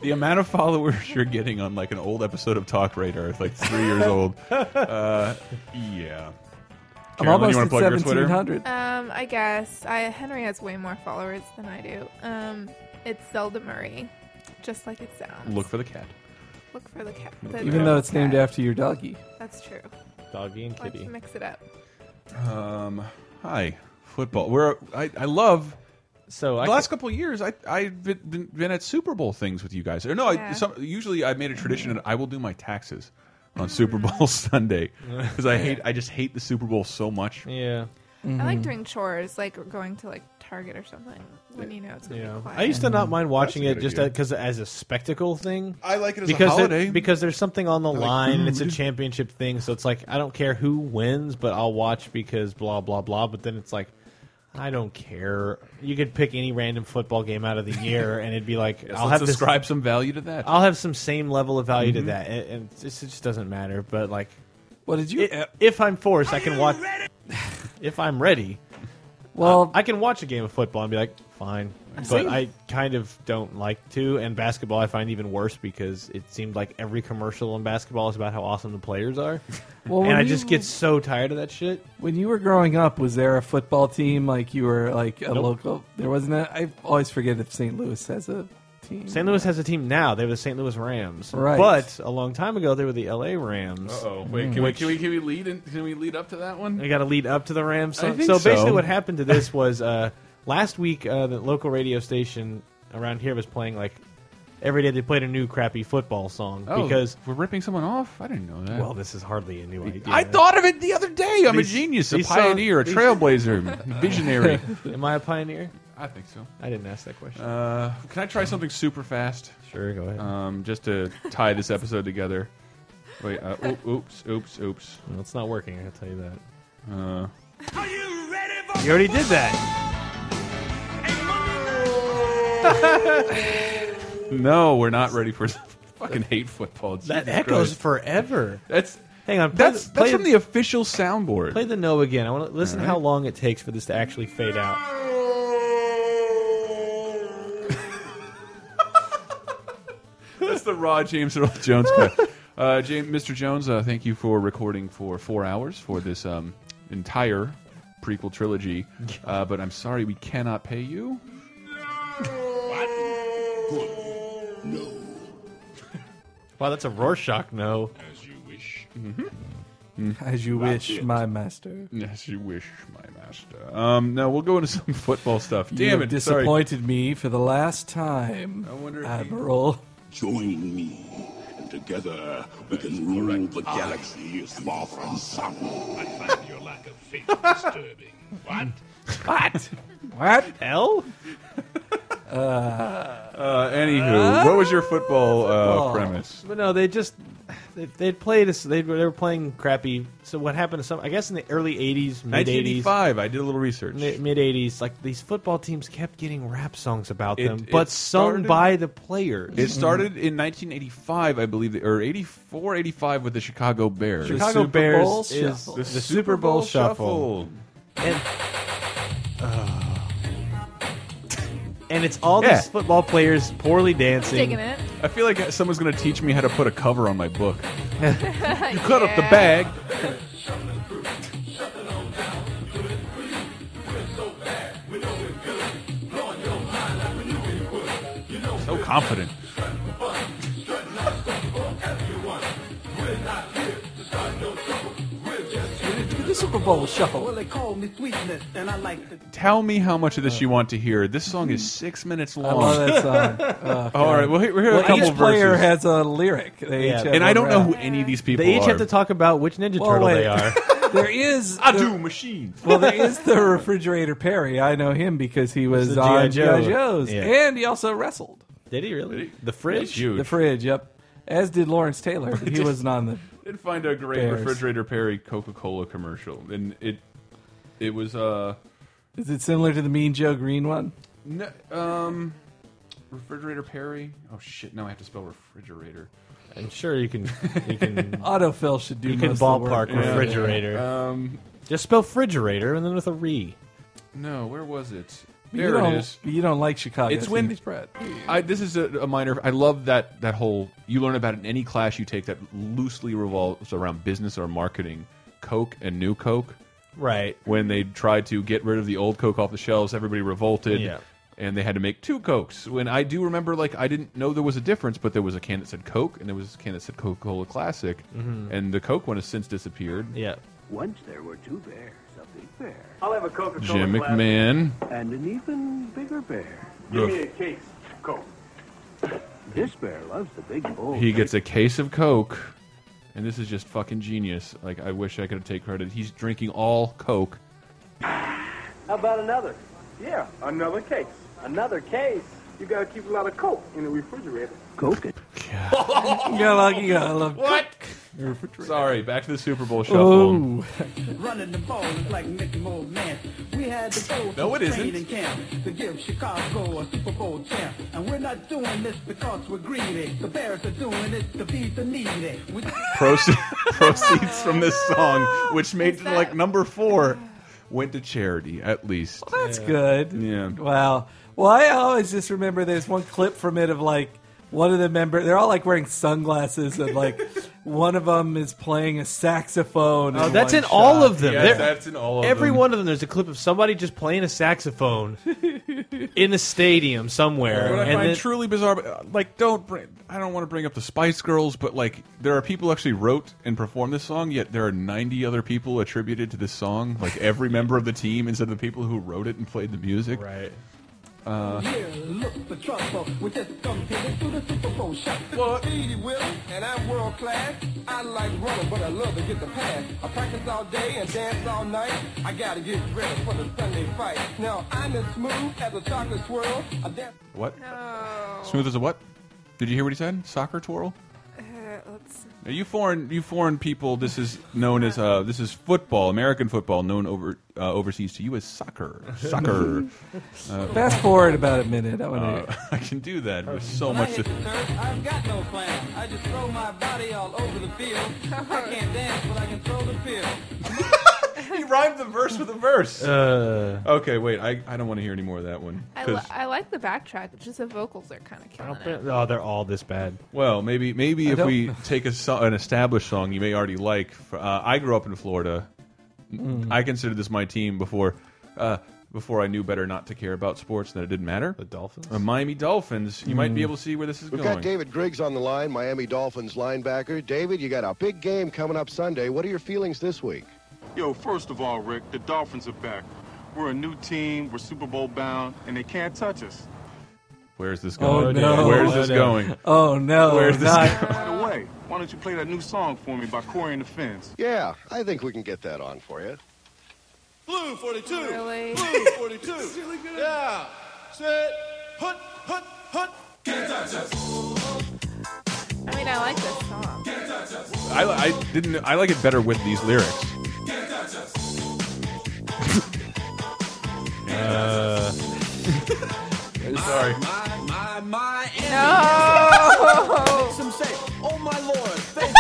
The amount of followers you're getting on like an old episode of Talk Radar, it's like three years old. Uh, yeah.
I'm
Carolyn, you
almost at
want to plug your Twitter?
1700.
Um, I guess I Henry has way more followers than I do. Um, it's Zelda Murray, just like it sounds.
Look for the cat.
Look for the cat. the
Even
dog
though it's
cat.
named after your doggy.
That's true.
Doggy and
Let's
kitty.
mix it up.
Um, hi, football. We're I, I love
So
the
I
last couple of years. I I've been, been, been at Super Bowl things with you guys. Or no, I,
Yeah.
some, usually I made a tradition and I will do my taxes on Super Bowl Sunday because I hate I just hate the Super Bowl so much.
can- yeah.
I
Mm-hmm.
like doing chores, like going to like Target or something when you know it's gonna
Yeah.
be quiet.
I used to not mind watching
That's a good
it just
idea.
because as a spectacle thing.
I like it as
Because
a
there-
holiday.
because there's something on the line, and it's a championship thing, so it's like I don't care who wins, but I'll watch because blah blah blah. But then it's like I don't care. You could pick any random football game out of the year, and it'd be like
Yes,
I'll
let's
have this,
ascribe some value to that.
I'll have some same level of value
Mm-hmm.
to that, and, and it, just, it just doesn't matter. But like
Well, did you?
i if I'm forced, I can watch. if I'm ready,
well,
I can watch a game of football and be like, fine. But I kind of don't like to. And basketball, I find even worse because it seemed like every commercial in basketball is about how awesome the players are.
well,
and
when
I
you-
just get so tired of that shit.
When you were growing up, was there a football team like you were like a
Nope.
local? There wasn't. A, I always forget if St. Louis has a team.
St. Louis has a team now. They were the St. Louis Rams.
Right.
But a long time ago, they were the LA Rams. Mm.
oh wait, can we can we can we lead in, can we lead up to that one?
I got to lead up to the Rams.
I think
so basically,
so.
what happened to this was uh, last week uh, the local radio station around here was playing like every day they played a new crappy football song
Oh,
because
we're ripping someone off. I didn't know that.
well, this is hardly a new idea.
I thought of it the other day. I'm
These-
a genius, a
these
pioneer,
songs-
a trailblazer, visionary.
Am I a pioneer?
I think so.
I didn't ask that question.
Uh, can I try something super fast?
sure, go ahead.
Um, just to tie this episode together. Wait, uh, oop- oops, oops, oops.
Well, it's not working. I can tell you that.
Uh,
Are you ready for
You already did that.
no, we're not ready for. fucking hate football.
That
Jesus
echoes
Christ.
forever.
That's
Hang on. Play,
that's
the-
that's
play,
from the official soundboard.
play the no again. I want to listen
All right.
how long it takes for this to actually fade out.
That's the raw James Earl Jones cut. Uh, James, Mr. Jones, uh, thank you for recording for four hours for this um, entire prequel trilogy. Uh, but I'm sorry, we cannot pay you.
Wow, that's a Rorschach no.
As you wish, my master.
Yes, you wish, my master. Um, no, we'll go into some football stuff.
you
Damn
have
it! sorry.
disappointed me for the last time,
I wonder if he-
Admiral.
Join me, and together we can rule the galaxy as far from sun. Ah. I find your lack of faith disturbing. What?
What? what?
L?
Uh, anywho, what was your football, uh,
Football.
premise?
But no, they just they, they'd played us. They were they were playing crappy. So what happened to some? I guess in the early '80s, mid '80s,
1985. I did a little research.
mid '80s, like these football teams kept getting rap songs about
It-
them,
it
but sung
started-
by the players.
It started in 1985, I believe, or 84, 85 with the Chicago Bears.
Sure.
Chicago
Super
Bears
Bowl
is
Shuffle.
the, Super Bowl, Shuffle, And, uh, and it's all
Yeah.
these football players poorly dancing.
digging it.
I feel like someone's going to teach me how to put a cover on my book. you cut up the bag. So confident.
Do the Super Bowl shuffle.
They call me sweetness, and I like the
Tell me how much of this you want to hear. This song is six minutes
Uh, I love
long.
that song.
All right, well, here, here are
Oh, Well,
a couple
each player
verses.
has a lyric. They
Yeah,
each have
and I
a
don't know
rap.
who any of these people
They each
are.
have to talk about which Ninja
Well,
Turtle
wait.
they are.
There is.
I
there-
do machines.
Well, there is the refrigerator Perry. I know him because he was
the
on
G.I. Joe.
G.I. Joe's,
Yeah.
and he also wrestled
Did he really? The fridge?
huge.
the fridge. Yep, as did Lawrence Taylor. but He wasn't on the.
did find a great
Bears.
refrigerator Perry Coca Cola commercial, and it it was uh
Is it similar to the Mean Joe Green one?
n- um refrigerator Perry. Oh shit! Now I have to spell refrigerator.
I'm sure you can. You can.
Autofill should do.
you can
most of the work.
ballpark refrigerator.
Um,
Just spell refrigerator and then with a re.
no, where was it?
You
There
don't-
it is.
You don't like Chicago.
It's when-
spread.
I, this is a, a minor. I love that that whole. You learn about it in any class you take that loosely revolves around business or marketing. Coke and New Coke.
Right.
when they tried to get rid of the old Coke off the shelves, everybody revolted.
Yeah.
and they had to make two cokes. When I do remember, like I didn't know there was a difference, but there was a can that said Coke and there was a can that said Coca Cola Classic, and the Coke one has since disappeared.
Yeah.
Once there were two bears, a big bear
I'll have a Coca-Cola
Jim
Classic.
McMahon,
and an even bigger bear.
Give me a case, Coke.
This bear loves the big bowl.
he gets a case of Coke, and this is just fucking genius. Like I wish I could take credit. He's drinking all Coke.
How about another? Yeah, another case. Another case? You gotta keep a lot of Coke in the refrigerator.
Coke.
You got lucky. You got lucky.
What? Sorry, back to the Super Bowl shuffle.
Oh,
Running the ball is like Mickey Moe Man. We had to go
No,
to
it
training
isn't.
camp to give Chicago a Super Bowl champ. And we're not doing this because we're greedy. The Bears are doing it to feed the needy. We-
Proce proceeds from this song, which made it
that-
like number four, went to charity at least.
that's good.
Yeah.
Wow. Well, I always just remember there's one clip from it of like one of the member. They're all like wearing sunglasses and like one of them is playing a saxophone.
Oh, that's in all of them.
Yes,
There-
that's in all of
Every
them.
one of them, there's a clip of somebody just playing a saxophone in a stadium somewhere.
What I
and
find
then-
truly bizarre, but, uh, like, don't bring. I don't want to bring up the Spice Girls, but like, there are people who actually wrote and performed this song. Yet there are ninety other people attributed to this song, like every member of the team instead of the people who wrote it and played the music.
right.
Yeah, look for trouble. We just come here to do the Super Bowl shot.
What?
Speedy Will, and I'm world class. I like running, but I love to get the pass. I practice all day and dance all night. I gotta get ready for the Sunday fight. Now I'm as smooth as a chocolate swirl. I dance.
What?
No.
Smooth as a what? Did you hear what he said? Soccer twirl.
Uh, let's
Now, you foreign, you foreign people. This is known as uh, this is football, American football, known over uh, overseas to you as soccer. Soccer.
Fast forward about a minute. I
Oh.
want to.
Uh, I can do that with so
When I
much.
hit the turf, I've got no plan. I just throw my body all over the field. I can't dance, but I can throw the field.
he rhymed the verse with a verse.
Uh,
okay, wait. I, I don't want to hear any more of that one.
I,
'Cause-
li- I like the backtrack. It's just the vocals are kind of killing it.
oh, they're all this bad.
Well, maybe maybe if
don't-
we take a so an established song you may already like. For- Uh, I grew up in Florida. I considered this my team before uh, before I knew better not to care about sports and that it didn't matter.
The Dolphins.
The Uh, Miami Dolphins. You might be able to see where this is
We've
going.
got David Griggs on the line, Miami Dolphins linebacker. David, you got a big game coming up Sunday. What are your feelings this week?
Yo, first of all, Rick, the Dolphins are back. We're a new team, we're Super Bowl bound, and they can't touch us.
Where's this
Oh,
going?
no.
Where's this
Oh, no.
going?
Oh no!
Where's this
not-
By the way, why don't you play that new song for me by Corey and the Fins?
Yeah, I think we can get that on for you.
Blue 42.
Really?
Blue 42. Yeah. Sit. Hut, hut, hut.
I mean, I like this song.
I, I didn't. I like it better with these lyrics. Sorry.
My, my, my,
No.
some say, oh my lord,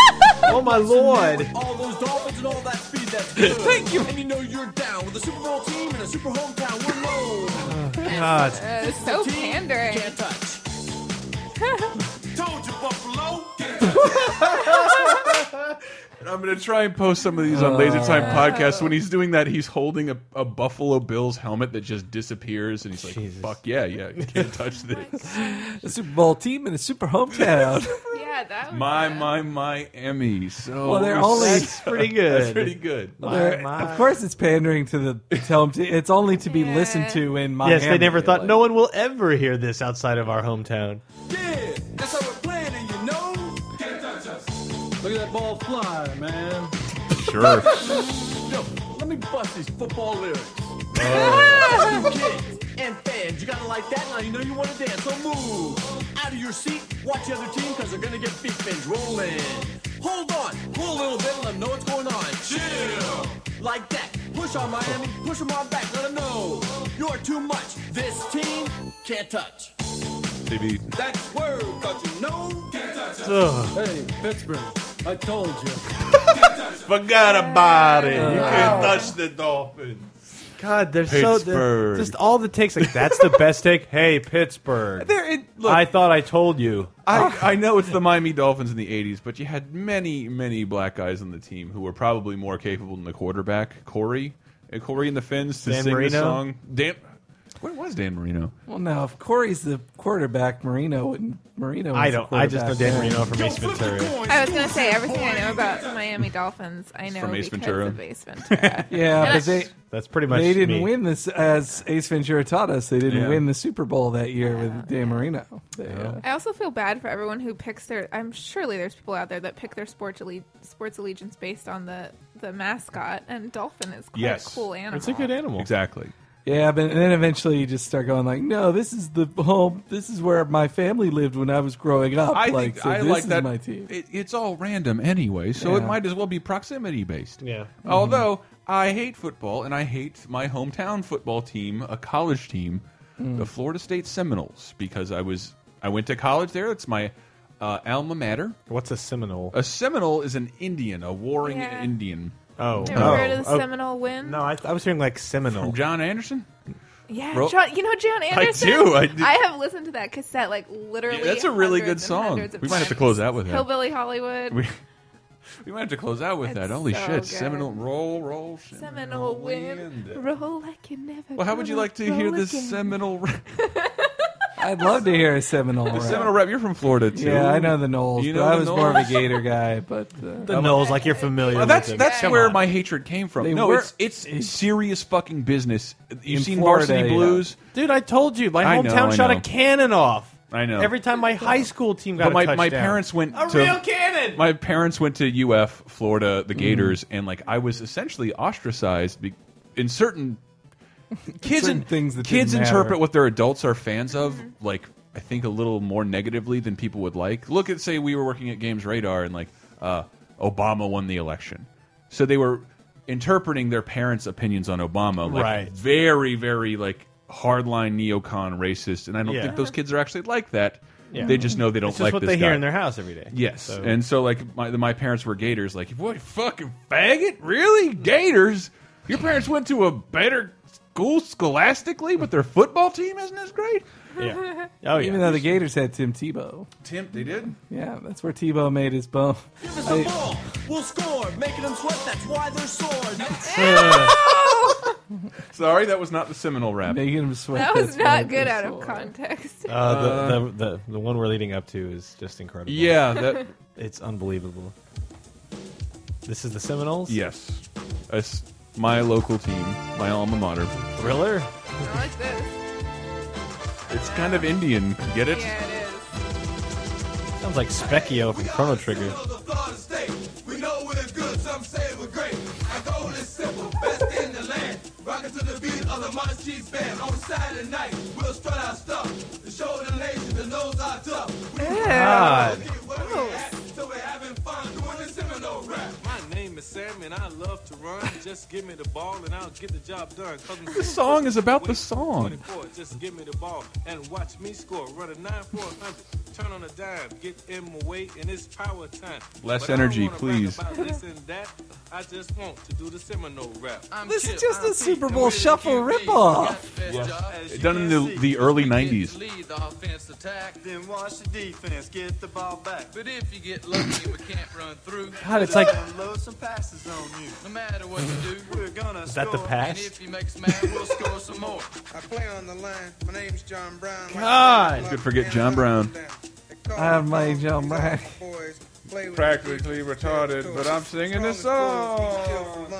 Oh my lord!
all those dolphins and all that speed that's good. Thank you. And you know you're down with a Super Bowl team and a Super hometown. We're low.
God.
Uh, it's so pandering.
Can't touch.
Told you, Buffalo.
I'm gonna try and post some of these on Laser Time podcast. When he's doing that, he's holding a, a Buffalo Bills helmet that just disappears, and he's like,
Jesus.
"Fuck yeah, yeah, you can't touch this."
a Super Bowl team in a super hometown.
Yeah, that was
my
it.
my my Emmy. So
Well, they're only-
that's
pretty good.
pretty good.
They're- Of course, it's pandering to the tell 'em to, It's only to be
Yeah.
listened to in Miami.
Yes, they never thought
Like,
no one will ever hear this outside of our hometown.
Yeah, that's how we're playing, and you know. Look at that ball fly, man.
Sure.
Yo, let me bust these football lyrics. Kids and fans, you gotta like that. Now you know you wanna dance, so move out of your seat. Watch the other team, cause they're gonna get beat binge rolling. Hold on, pull a little bit, let them know what's going on. Chill, like that. Push on Miami, push them on back, let them know you're too much. This team can't touch.
Maybe
That's word, cause you know.
Ugh.
Hey, Pittsburgh, I told you.
forgot about it. You can't touch the Dolphins.
God, they're so they're,
Pittsburgh.
just all the takes. Like that's the best take. Hey, Pittsburgh.
They're in, look,
I
I,
thought I told you.
I know it's the Miami Dolphins in the '80s, but you had many many black guys on the team who were probably more capable than the quarterback Corey. And Corey and the Fins to
Dan
sing the
Marino?
song. Dan, Where was Dan Marino?
Well, now if Corey's the quarterback, Marino wouldn't. Marino.
I
is the
don't- I just know
quarterback.
Dan Marino from Ace Ventura.
I was gonna say everything I know about the Miami Dolphins. I know
From Ace
because
Ventura.
of Ace Ventura.
Yeah,
And I-
but they,
That's pretty much
They didn't
me.
win this, as Ace Ventura taught us. They didn't
Yeah.
win the Super Bowl that year with Dan Marino. They, uh,
I also feel bad for everyone who picks their. I'm surely there's people out there that pick their sports alle- sports allegiance based on the the mascot, and dolphin is quite a cool animal.
Exactly.
Yeah, but and then eventually you just start going like, "No, this is the home. This is where my family lived when I was growing up."
I
like,
think
so
I
this
like
is
that.
my team.
It, it's all random anyway, so it
Yeah. Mm-hmm.
might as well be proximity based.
Yeah.
Although I hate football and I hate my hometown football team, a college team,
Mm.
the Florida State Seminoles, because I was I went to college there. It's my uh, alma mater.
What's a Seminole?
A Seminole is an Indian, a warring
Yeah.
Indian.
Oh,
Ever heard of the Seminole Wind?
No, I, I was hearing like Seminole.
From John Anderson?
Yeah,
Ro-
John, you know John
I
Anderson.
do, I do.
have listened to that cassette like literally.
Yeah, that's a really
hundreds
good
and
song.
hundreds of
We might have to
times.
close out with that.
Hillbilly Hollywood.
We, we might have to close out with that. Holy
so
shit!
good.
Seminole roll, roll. Seminole.
Seminole wind, roll like you never.
Well, how would you
gonna
like to hear
roll
this
again.
Seminole? rap?
I'd love to hear a Seminole.
The
rap.
Seminole rap. You're from Florida too.
Yeah, I know the Knowles,
You
but
know
I
the
was more of a
Knowles?
Gator guy. But uh,
The Knowles, like you're familiar.
Well,
with
that's
them.
that's
Come
where
on.
my hatred came from.
They
no,
were-
it's, it's serious fucking business. You've
In
seen
Florida,
Varsity
yeah.
Blues.
dude. I told you my
I
hometown
know, I
shot
know.
a cannon off.
I know.
Every time my high school team got
But
a
my, my
touchdown.
parents went
a
to
real cannon.
My parents went to UF Florida,
Mm.
the Gators, and like I was essentially ostracized be, in certain kids
Certain
in-
things that
kids
didn't matter.
interpret what their adults are fans of
Mm-hmm.
like I think a little more negatively than people would like. Look at say we were working at Games Radar and like uh, Obama won the election, so they were interpreting their parents' opinions on Obama like
Right.
very very like hardline neocon racist, and I don't
Yeah.
think those kids are actually like that.
Yeah.
They just know they don't
It's just
like
what
this
they hear
guy.
in their house every day.
Yes,
So-
and so like my my parents were Gators. Like, what fucking faggot? Really, Gators? Your parents went to a better school scholastically, but their football team isn't as great.
Yeah.
even though the Gators had Tim Tebow.
Tim, they did.
Yeah, that's where Tebow made his bone.
Give us
I-
the ball. We'll score. Making them sweat. That's why they're sore.
Sorry, that was not the Seminole rap.
Making him sweat.
That was
that's
not
why
good
they
out
sold.
of context.
Uh, the, the, the the one we're leading up to is just incredible.
Yeah, that-
it's unbelievable. This is the Seminoles.
Yes, it's my local team, my alma mater.
Thriller.
I like this.
It's kind of Indian. Get it?
Yeah, it is.
Sounds like Specchio from Chrono Trigger.
We know we're good, some say we're great. Our goal is simple, best in the land. Rockin' to the beat of the Monster Cheese Band. On Saturday night, we'll strut our stuff. The show the nation, the nose are tough. We
Ah,
God.
Oh.
My name is Sam and I love to run. Just give me the ball and I'll get the job done.
The song is about the song.
Just give me the ball and watch me score. Run a 9 4 Turn on a dime. Get in my way and it's power time. But
Less
I don't
energy,
wanna brag
please.
about this and that. I just want to do the Seminole rap. I'm
This is
Chip,
just
I'm
a Super
Pete, and
Bowl
we're the
shuffle
QBs.
ripoff.
We got the best job. As you
Done in the, the early '90s.
lead the offense attack, then watch the defense get the ball back. But if you get lucky, we can't run through.
God, it's like-
We're gonna load some passes on you. No matter what you do, we're gonna
Is that the
score.
pass?
And if you make us mad, we'll score some more. I play on the line. My name's John Brown.
God.
Could forget John Brown.
I'm like John Bryan.
Practically retarded, but I'm singing this song.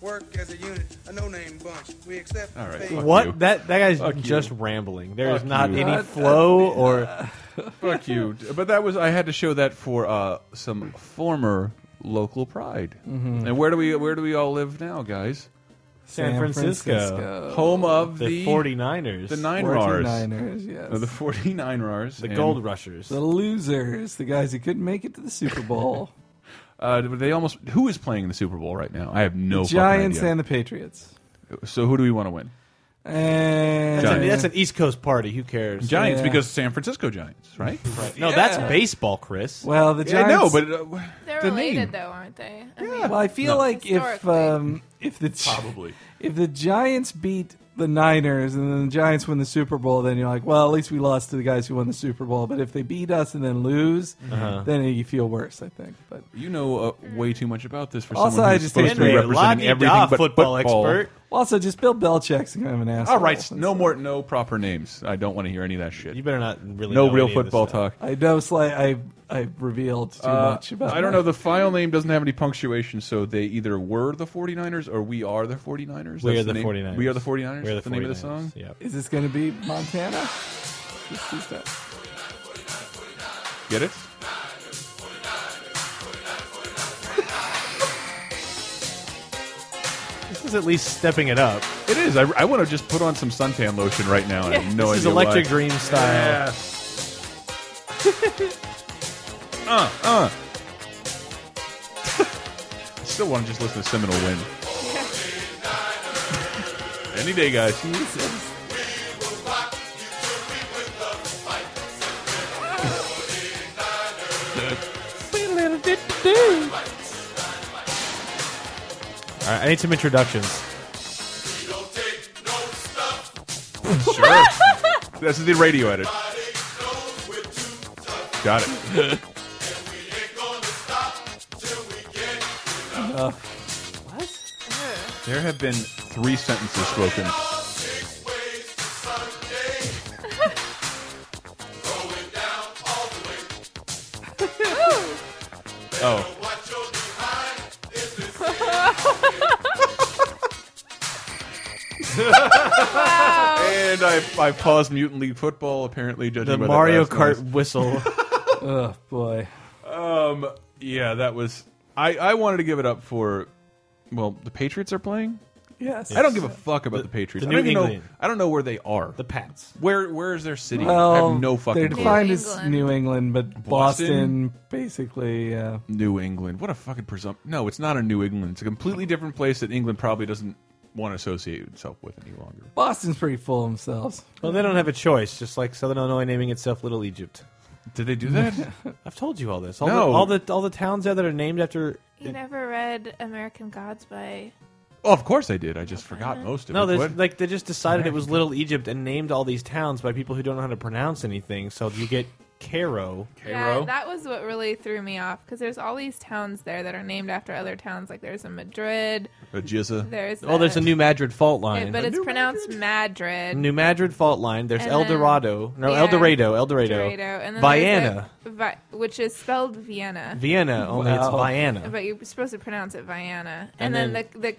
Work as a unit, a no-name bunch. We accept.
All right.
fate.
What that that guy's
Fuck you.
just rambling. There is
Fuck
not
you.
any
Not-
flow or
Uh,
Fuck you. But that was I had to show that for uh, some former local pride.
Mhm.
And where do we where do we all live now, guys?
San San Francisco. Francisco.
home of
The
the,
49ers.
the Nine Rars,
49ers, yes.
Uh, the 49 Rars,
The Gold Rushers,
The losers, the guys who couldn't make it to the Super Bowl.
Uh, they almost who is playing in the Super Bowl right now? I have no
the
fucking
Giants
idea.
and the Patriots.
so who do we want to win?
And
That's, an, that's an East Coast party. Who cares?
Giants because San Francisco Giants, right?
Right. No, that's baseball, Chris.
Well, the
Yeah, I know, but
Giants.
uh,
They're
the
related
name.
though, aren't they? I mean,
well, I feel
No.
like if
Historically.
um, if the
Probably.
if the Giants beat the Niners and then the Giants win the Super Bowl, then you're like, well, at least we lost to the guys who won the Super Bowl. But if they beat us and then lose,
Uh-huh.
then you feel worse. I think. But
You know uh, way too much about this for
Also,
someone
I
who's
just
supposed to
hate
be
that
representing
Lottie
everything
Daw,
but
football
football.
expert.
Also, just Bill Belichick's kind of an asshole.
All right, no more, no proper names. I don't want to hear any of that shit. You
better not really.
No
know
real
any of this
football
stuff.
talk.
I know, Sly. I I revealed too
Uh,
much about.
I don't
that.
know. The file name doesn't have any punctuation, so they either were the 49ers or we are the 49ers.
We
That's
are the
name.
49ers.
We are the 49ers.
We are the
That's the name of the
49ers,
song.
yeah.
Is this going to be Montana? Let's do stuff.
Get it?
This is at least stepping it up.
It is. I, I want to just put on some suntan lotion right now. And I have no
this is
idea
Electric
why.
Dream style.
Uh, uh. I still want to just listen to Seminole Wind. Any day, guys.
All right, I need some introductions.
sure. this is the radio edit. Got it.
Enough.
there have been three sentences spoken. Oh. and I, I paused Mutant League Football, apparently, judging
The
by that
Mario
last
Kart
noise.
whistle.
oh boy.
Um. Yeah, that was. I I wanted to give it up for. Well, the Patriots are playing.
Yes.
I don't give a fuck about the, Patriots.
the
I don't
New
even know.
England.
I don't know where they are. The
Pats.
Where Where is their city? I
Well,
have no fucking.
They're
clue.
defined as New England, but
Boston?
Boston, basically. Uh,
New England. What a fucking presumption. No, it's not a New England. It's a completely different place that England probably doesn't want to associate itself with any longer.
Boston's pretty full of themselves.
Well, they don't have a choice, just like Southern Illinois naming itself Little Egypt.
Did they do that?
I've told you all this. All,
No.
the, all the all the towns there that are named after.
You never read American Gods by
Oh, of course I did. I just
Uh-huh.
forgot most of
No,
it.
there's
What?
like they just decided it was Little Egypt and named all these towns by people who don't know how to pronounce anything. So you get Cairo.
Yeah, that was what really threw me off because there's all these towns there that are named after other towns. Like there's a Madrid,
A Jizza.
there's
oh, there's a New Madrid fault
Yeah,
line.
but it's pronounced Madrid.
New Madrid fault line. There's
And
El
then-
Dorado. No,
yeah,
El Dorado. El Dorado.
Dorado, and then
Vienna.
there's a Vi- which is spelled Vienna.
Vienna. Only it's
Wow.
Vienna.
But you're supposed to pronounce it Vienna. And,
And
then,
then-
the the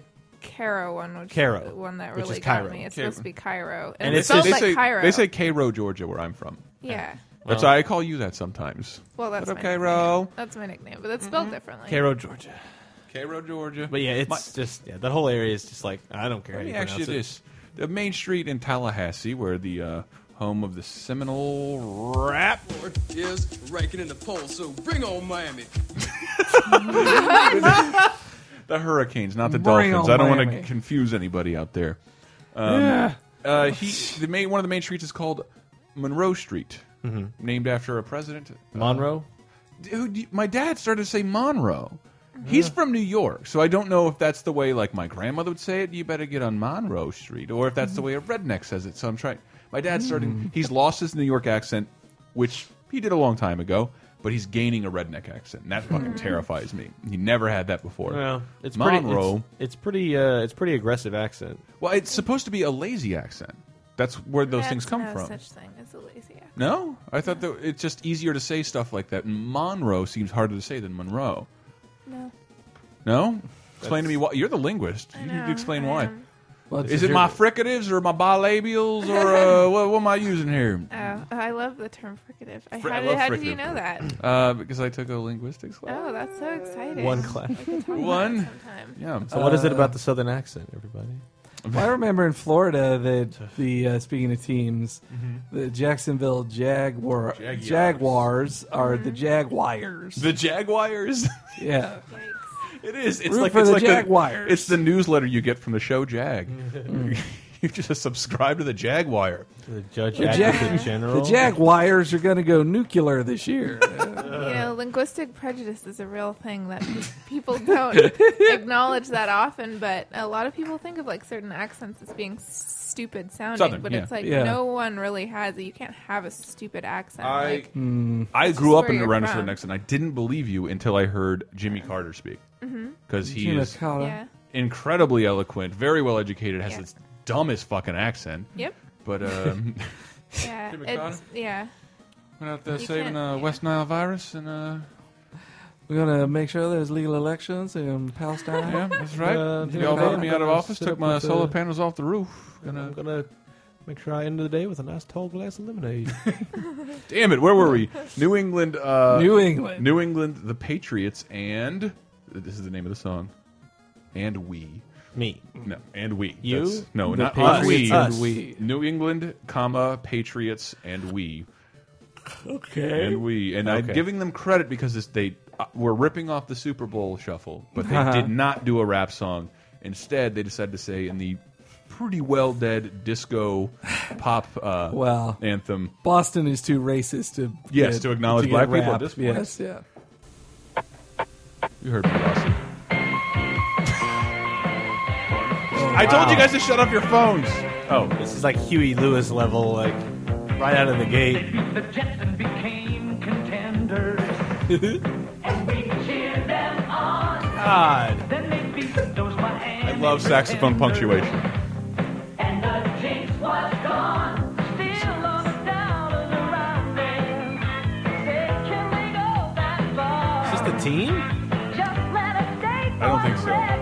Caro one, which
Caro,
is the one that
which
really
is
got
Cairo.
me. It's
Cairo.
supposed to be Cairo, and,
And
it
it's
sounds
they
like
say
Cairo.
they say Cairo, Georgia, where I'm from.
yeah.
That's
Well-
why I call you that sometimes.
Well, that's
what up,
my
Cairo?
Nickname. That's my nickname, but that's
Mm-hmm.
spelled differently.
Cairo, Georgia.
Cairo, Georgia.
But yeah, it's just yeah. That whole area is just like I don't care.
Let
how
me
you
ask you
pronounce it.
this: the main street in Tallahassee, where the uh, home of the Seminole rap.
Lord is ranking in the poll, so bring on Miami.
the Hurricanes, not the
Bring
Dolphins.
on
I don't want to
Miami.
confuse anybody out there. Um,
Yeah.
uh, he, the main one of the main streets is called Monroe Street, named after a president.
Monroe.
Dude, my dad started to say Monroe.
Mm-hmm.
He's from New York, so I don't know if that's the way like my grandmother would say it. You better get on Monroe Street, or if that's the way
Mm-hmm.
a redneck says it. So I'm trying. My
Mm.
dad's starting. He's lost his New York accent, which he did a long time ago, but he's gaining a redneck accent, and that
Mm-hmm.
fucking terrifies me. He never had that before.
Well, it's pretty.
Monroe.
It's, it's pretty. Uh, it's pretty aggressive accent.
well, it's supposed to be a lazy accent. That's where those things
That's
come
no
from.
Such thing as a lazy act.
No, I thought that it's just easier to say stuff like that. Monroe seems harder to say than Monroe.
No.
No? Explain to me why. You're the linguist. You need
know,
to explain
I
why.
am.
Well,
Is it my fricatives or my bilabials or uh, what, what am I using here?
Oh, I love the term fricative. I,
Fr- I
how
love
did, how did you
fricative.
know that?
Uh, because I took a linguistics class.
Oh, that's so exciting.
One class.
We could talk about it
One.
sometime.
Yeah.
So what is it about the southern accent, everybody?
Well, I remember in Florida that the uh, speaking of teams, the Jacksonville Jaguar
Mm-hmm. Jaguars.
Jaguars, are the Jaguars.
The Jaguars.
Yeah,
it is. It's
Root
like
for
it's
the
like
Jaguars.
it's the newsletter you get from the show Jag. Mm. you just subscribe to the Jaguar.
The judge
the,
advocate
Jag-
general.
the Jaguars are going to go nuclear this year.
You know, linguistic prejudice is a real thing that pe- people don't acknowledge that often, but a lot of people think of like certain accents as being s- stupid sounding,
Southern,
but
yeah.
it's like
Yeah.
no one really has it. You can't have a stupid accent.
I- Mm.
like,
I grew
just
up
where
in
you're
around a
from. Mm-hmm.
certain accent. I didn't believe you until I heard Jimmy Carter speak because he
Gina
is
Carter.
yeah.
incredibly eloquent, very well educated, has its dumbest fucking accent.
Yep.
But um,
Yeah.
Jimmy
It's, yeah.
went out there
You
saving
can't-
a West Nile virus and uh,
We're gonna make sure there's legal elections in Palestine.
yeah, that's right. Y'all voted me out of office, took my solar panels off the roof.
I'm gonna make sure I end the day with a nice tall glass of lemonade.
Damn it, where were we? New England. Uh,
New England.
New England, the Patriots, and. This is the name of the song. And we.
Me.
No, and we.
You?
That's- no,
The
not us.
Patriots
We.
and Us. we.
New England, comma, Patriots, and we.
Okay.
And we. And I'm
Okay.
giving them credit because this, they uh, were ripping off the Super Bowl shuffle, but they
Uh-huh.
did not do a rap song. Instead, they decided to say in the pretty well dead disco pop uh,
Well,
anthem.
Boston is too racist to
Yes,
get-
to acknowledge
get
black people at
rap.
this point.
Yes, yeah.
You heard me, Rossi.
Oh,
I told you guys to shut up your phones. Oh,
this is like Huey Lewis level, like right out of the gate.
The Jetson became contenders. and we cheered them on.
God.
Then they beat those
I
Miami.
love saxophone punctuation.
And the jinx was gone. Still on the down and around there. Said, can we go that far?
Is this the team?
Just let us stay
I don't think so.
record.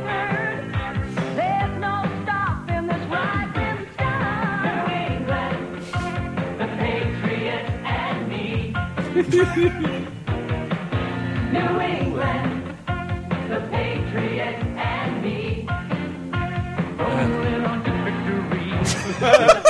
There's no stopping this rising star. New England, the Patriot and me. New England, the Patriot and me. Rolling on to victory.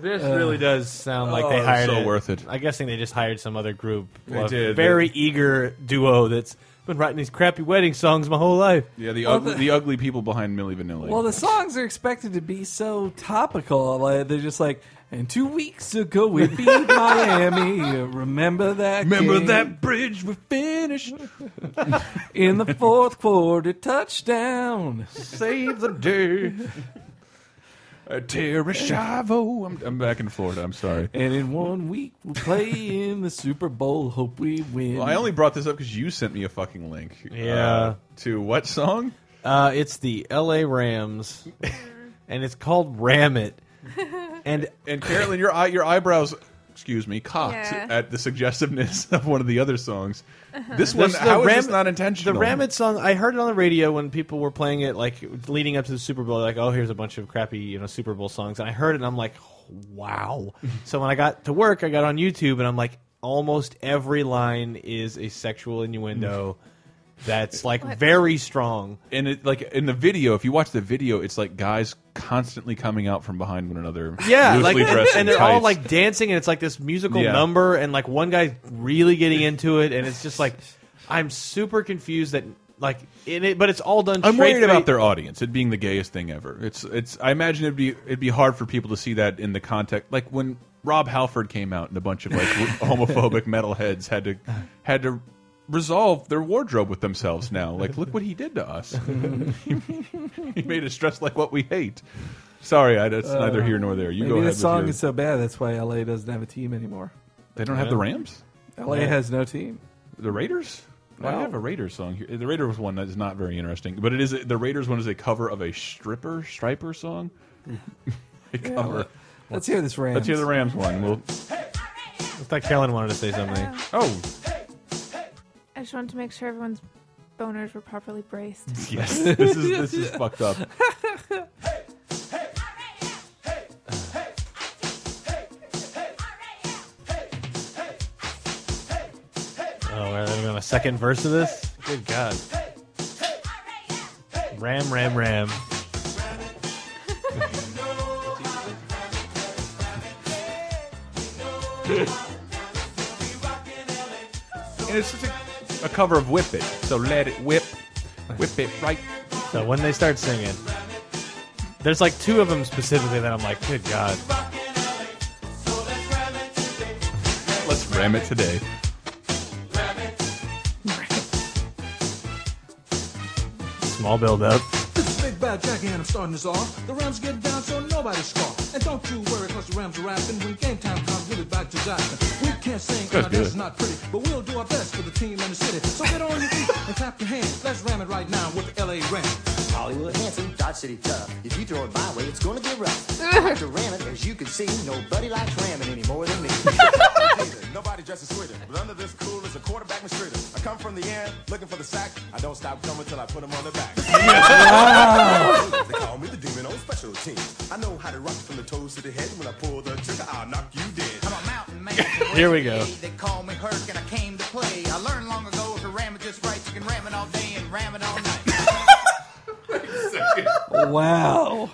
This really does sound like
Oh,
they
it's
hired.
so
a-
worth it.
I'm guessing they just hired some other group.
They
a
did.
Very eager duo that's been writing these crappy wedding songs my whole life.
Yeah, the,
Well,
ugly,
the-
the, ugly people behind Millie Vanilli.
Well, the songs are expected to be so topical. Like, they're just like, and two weeks ago we beat Miami. Remember that?
Remember
game?
that bridge we finished?
in the fourth quarter touchdown.
Save the day. Uh, Terry Schiavo. I'm, I'm back in Florida. I'm sorry.
And in one week we'll play in the Super Bowl. Hope we win.
Well, I only brought this up because you sent me a fucking link. uh,
Yeah.
to what song?
Uh, it's the L.A. Rams, and it's called Ram It. And
and Carolyn, your eye, your eyebrows, excuse me, cocked
Yeah.
at the suggestiveness of one of the other songs. This one,
There's the
how is
Ram-
this not intentional?
The Ram It song, I heard it on the radio when people were playing it, like leading up to the Super Bowl. Like, oh, here's a bunch of crappy, you know, Super Bowl songs, and I heard it, and I'm like, wow. so when I got to work, I got on YouTube, and I'm like, almost every line is a sexual innuendo. That's like
What?
very strong.
and it, like in the video, if you watch the video, it's like guys constantly coming out from behind one another,
Yeah, like,
loosely dressed, in
and they're all
tights.
like dancing, and it's like this musical
Yeah.
number, and like one guy's really getting into it, and it's just like I'm super confused that like in it, but it's all done.
I'm
straight
worried about
face-
their audience. It being the gayest thing ever. It's it's. I imagine it'd be it'd be hard for people to see that in the context. Like when Rob Halford came out and a bunch of like homophobic metalheads had to had to resolve their wardrobe with themselves. Now, like look what he did to us. he made us dress like what we hate. Sorry, I, that's neither
Uh,
here nor there. You
maybe
go ahead.
This
with
song
your-
is so bad. That's why LA doesn't have a team anymore.
They don't have the Rams?
LA
Yeah.
has no team.
The Raiders? I
No.
have a Raiders song here. The Raiders one is not very interesting, but it is the Raiders one is a cover of a stripper striper song. a
Yeah,
cover.
let's hear this Rams.
Let's hear the Rams one. We'll,
I thought Kellen wanted to say something.
Oh,
I just wanted to make sure everyone's boners were properly braced.
Yes, this is- this is fucked up.
Oh, we're gonna be on a second verse of this. Good God. Ram, ram, ram.
and it's just a, a cover of Whip It. So let it whip. Whip it right.
So when they start singing, there's like two of them specifically that I'm like, good God.
Let's ram it today.
Small build up.
This is Big Bad Jackie and I'm starting this off. The Rams get down so nobody scoff. And don't you worry, cause the Rams are rapping. When game time comes, we'll be back to Jackson. We can't sing,
That's
our dance is
good.
not pretty. But we'll do our best for the team and the city. So get on your feet and clap your hands. Let's ram it right now with the LA Rams.
Hollywood, Hanson, Dodge City tough. If you throw it my way, it's gonna get rough. I like to ram it, as you can see, nobody likes ramming any more than me.
Nobody dresses sweeter, but under this cool is a quarterback mistreater. I come from the end, looking for the sack. I don't stop coming till I put him on the back.
Wow.
they call me the demon on special teams. I know how to rock from the toes to the head. When I pull the trigger, I'll knock you dead. I'm a mountain man.
Here we go.
They call me Herc and I came to play. I learned long ago if you ram it just right, you can ram it all day and ram it all
Wow.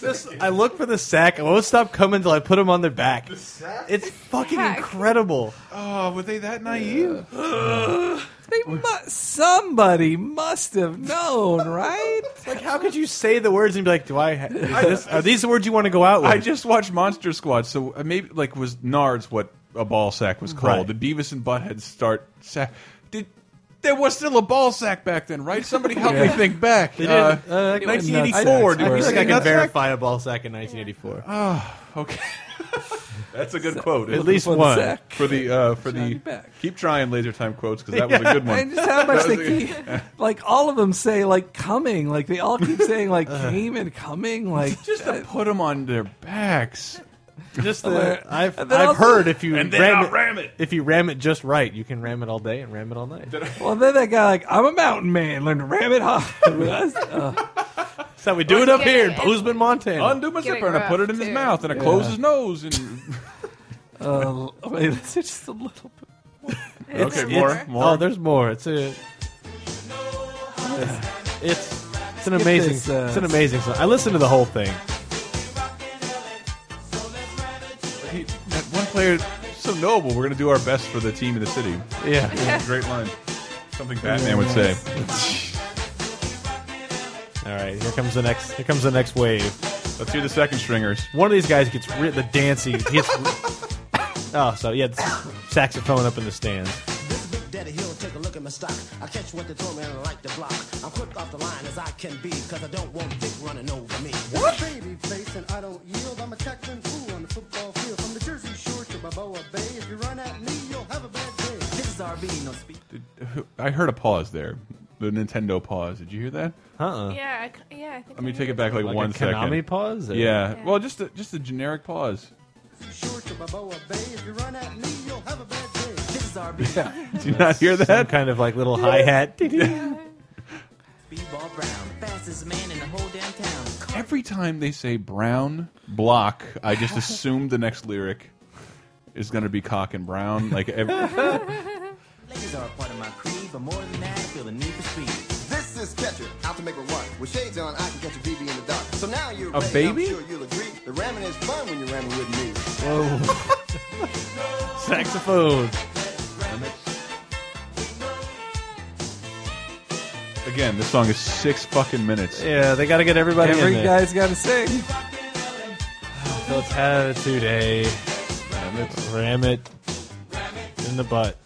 This, I look for the sack. I won't stop coming until I put them on their back.
sack?
It's fucking incredible.
Oh, were they that naive?
They mu- somebody must have known, right?
like, how could you say the words and be like, "Do I? Ha- is this, are these the words you want to go out with?"
I just watched Monster Squad, so uh, maybe like was Nards what a ball sack was called. The Beavis and Butthead start sack. Did there was still a ball sack back then, right? Somebody help me
Yeah.
think back.
They
Uh,
didn't- uh, like,
1984.
I, I feel like I can
Nut sack?
verify a ball sack in 1984.
Ah, okay. That's a good quote.
At least
For the
one.
sack. for the uh, for the keep trying laser time quotes because that was a good one.
And just how much
That was
they
a good-
keep, like all of them say like coming, like they all keep saying like came and coming, like
Uh-huh. just to put them on their backs.
Just
Well,
the, I've,
and then
I've
also-
heard if you
And then
ram
I'll
it,
ram it.
if you ram it just right, you can ram it all day and ram it all night.
Well, then that guy like I'm a mountain man, learn to ram it hard. with us. Uh,
That's how we do it up here in Bozeman, Montana.
Undo my zipper and I put it in his mouth and I
Yeah.
close his nose and.
uh, wait, that's just a little. bit.
Okay, more, more.
Oh, there's more. It's a. It's it's an
Skip
amazing
this, uh,
it's an amazing song. I listened to the whole thing.
He- that one player so noble. We're gonna do our best for the team in the city.
Yeah.
It was a great line. Something Batman would say.
All right, here comes the next. Here comes the next wave.
Let's hear the second stringers.
One of these guys gets ri- the dancey gets. oh, so yeah, saxophone up in the stands.
Big Daddy Hill, take a look at my stock. I catch what they throw me and I like the block. I'm quick off the line as I can be, cause I don't want dick running over me.
What? Baby face and I don't yield. I'm a Texan fool on the football field. From the Jersey Shore to Balboa Bay. If you run at me, you'll have a bad day. This is RB, no speak.
I heard a pause there. The Nintendo pause. Did you hear that?
Uh-uh.
Yeah, I, c- yeah. I think
Uh. Let me
I
take it back like,
Like a
one second.
Konami pause, or-
Yeah.
Yeah.
Well, just a, just a generic pause.
Shore to Balboa Bay. If you run at me, you'll have a bad day. This is RB.
Do you not hear that?
kind of like little hi hat.
B-Ball Brown, fastest man in the whole damn town.
Every time they say brown block, I just assume the next lyric is going to be cock and brown. Like every,
Ladies are a part of my creed, but more than that, I feel the need for speed.
This is Catcher, out to make a run. With shades on, I can catch a BB in the dark. So now you're
A
ready.
baby?
I'm sure you'll agree. The ramming is fun when you're ramming with me.
Whoa. saxophone.
again, this song is six fucking minutes.
Yeah, they got to get everybody. in
Every
there.
guy's got to sing.
Let's have it today. Ram it. Ram it in the butt.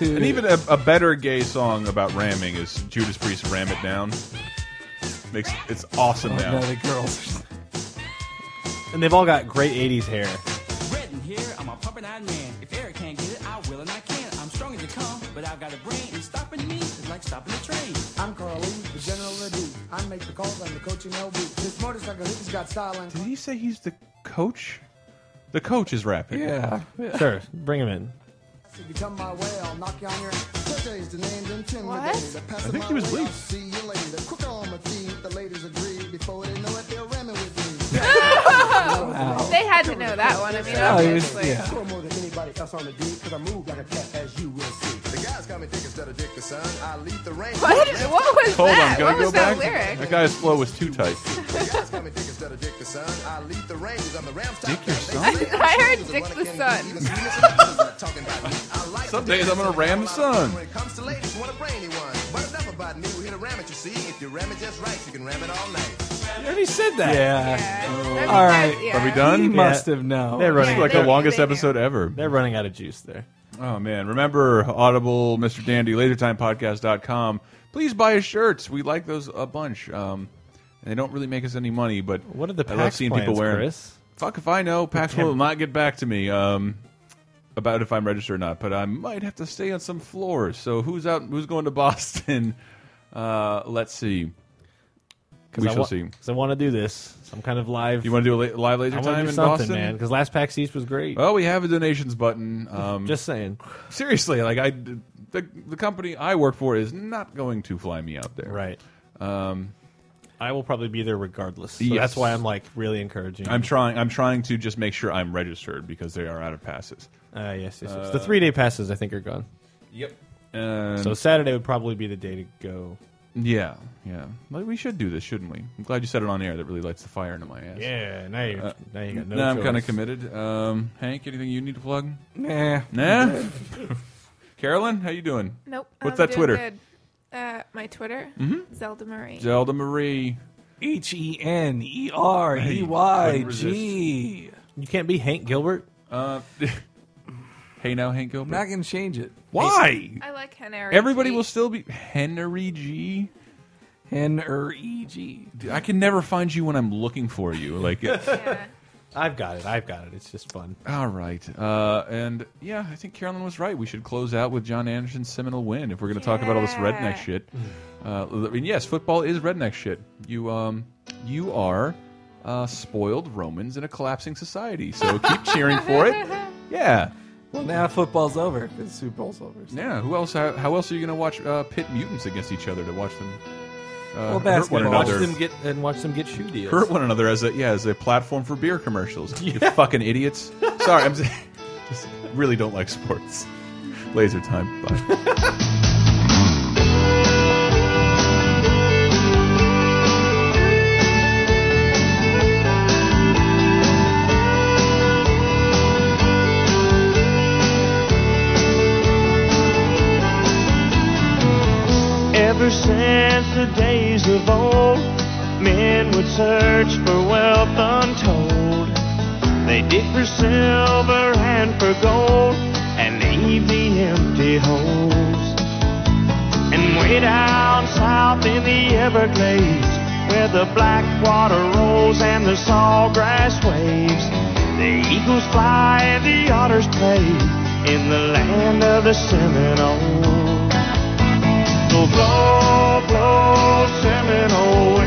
And even a, a better gay song about ramming is Judas Priest "Ram It Down." Makes it's awesome
Oh,
now.
now the girls. And they've all got great 80s hair.
Red in here, I'm a pumping eyed man. If Eric can't get it, I will and I can. I'm strong as it come, but I've got a brain. And stopping me is like stopping a train.
I'm Carl Lee, the general of the I make the calls. I'm the coaching LB. This motorcycle hippie's got style and
Did he say he's the coach? The coach is rapping.
Yeah. Yeah.
Sure, bring him in.
If you come my way, I'll knock you on your Today's the name's intimidated.
I think he was
bleeped.
bleeped.
See you later. Quick on my feet. The ladies agree. Before they know it, they're ramming with me.
Wow. They had to know that one. I mean,
Yeah, it was-
obviously.
yeah.
Score more than anybody else on the D, cause I move like a cat, as you will see.
The guys got me dick instead of dick the son. I lead the rain.
What? What was
Hold
that?
on, gotta
what
go
was that
back.
lyric?
That guy's flow was too tight.
The guys got me dick instead of dick the son. I lead the Rangers. I'm the Rams.
Dick your son.
I heard Dick the Sun.
Some days I'm gonna ram the sun.
When it comes to ladies, you want a brainy one. But enough about me. We hit a ram it, you see. If you ram it just right, you can ram it all night.
You already said that.
Yeah.
All right.
yeah. Are we done?
He
Yeah.
must have known.
They're running
This is like the longest episode ever.
They're running out of juice there.
Oh man! Remember Audible, Mr. Dandy, LaserTimePodcast.com. Please buy his shirts. We like those a bunch. Um, and they don't really make us any money, but what are
the
I love
PAX
seeing people
plans,
wearing.
Chris?
Fuck if I know. Pax
Damn.
will not get back to me um, about if I'm registered or not. But I might have to stay on some floors. So who's out? Who's going to Boston? Uh, let's see. We
I
shall
wa-
see.
'cause I want to do this. Some kind of live.
You want to do a la- live laser
I wanna
time
do
in
something,
Boston,
man, 'cause last PAX East was great.
Well, we have a donations button. Um,
Just saying.
Seriously, like I, the, the company I work for is not going to fly me out there. Right. Um,
I will probably be there regardless. So
Yes.
that's why I'm like really encouraging.
I'm trying. I'm trying to just make sure I'm registered because they are out of passes.
Ah, yes, yes,
Uh,
yes. the three day passes I think are gone.
Yep. Um,
so Saturday would probably be the day to go.
Yeah, yeah. Well, we should do this, shouldn't we? I'm glad you said it on air. That really lights the fire into my ass.
Yeah, now you- now you got no
Uh, Now I'm
choice.
kind of committed. Um, Hank, anything you need to plug?
Nah.
Nah.
I'm
Carolyn, how you doing?
Nope.
What's
I'm
that
doing
Twitter?
good. Uh, my Twitter.
Mhm.
Zelda Marie.
Zelda Marie.
H E N E R E Y G.
You can't be Hank Gilbert.
Uh, hey now, Hank Gilbert.
not gonna change it.
Why?
I like Henry.
Everybody will still be Henry G.
Henry E G.
Dude, I can never find you when I'm looking for you. Like,
I've got it. I've got it. It's just fun.
all right. Uh, and yeah, I think Carolyn was right. We should close out with John Anderson's seminal win if we're going to talk about all this redneck shit. Uh, I mean, yes, football is redneck shit. You um, you are uh, spoiled Romans in a collapsing society. So keep cheering for it. Yeah.
Well, now football's over. 'cause Super Bowl's over. so.
Yeah. Who else? How, how else are you going to watch uh, pit mutants against each other to watch them? Uh,
well,
hurt one
basketball. Watch
another.
them get and watch them get shoe deals.
hurt one another as a yeah as a platform for beer commercials. You fucking idiots. Sorry, I'm just, just really don't like sports. Laser time. Bye.
Ever since the days of old, men would search for wealth untold. They dig for silver and for gold, and leave the empty holes. And way down south in the Everglades, where the black water rolls and the sawgrass waves, the eagles fly and the otters play in the land of the Seminoles. So blow, blow, Seminole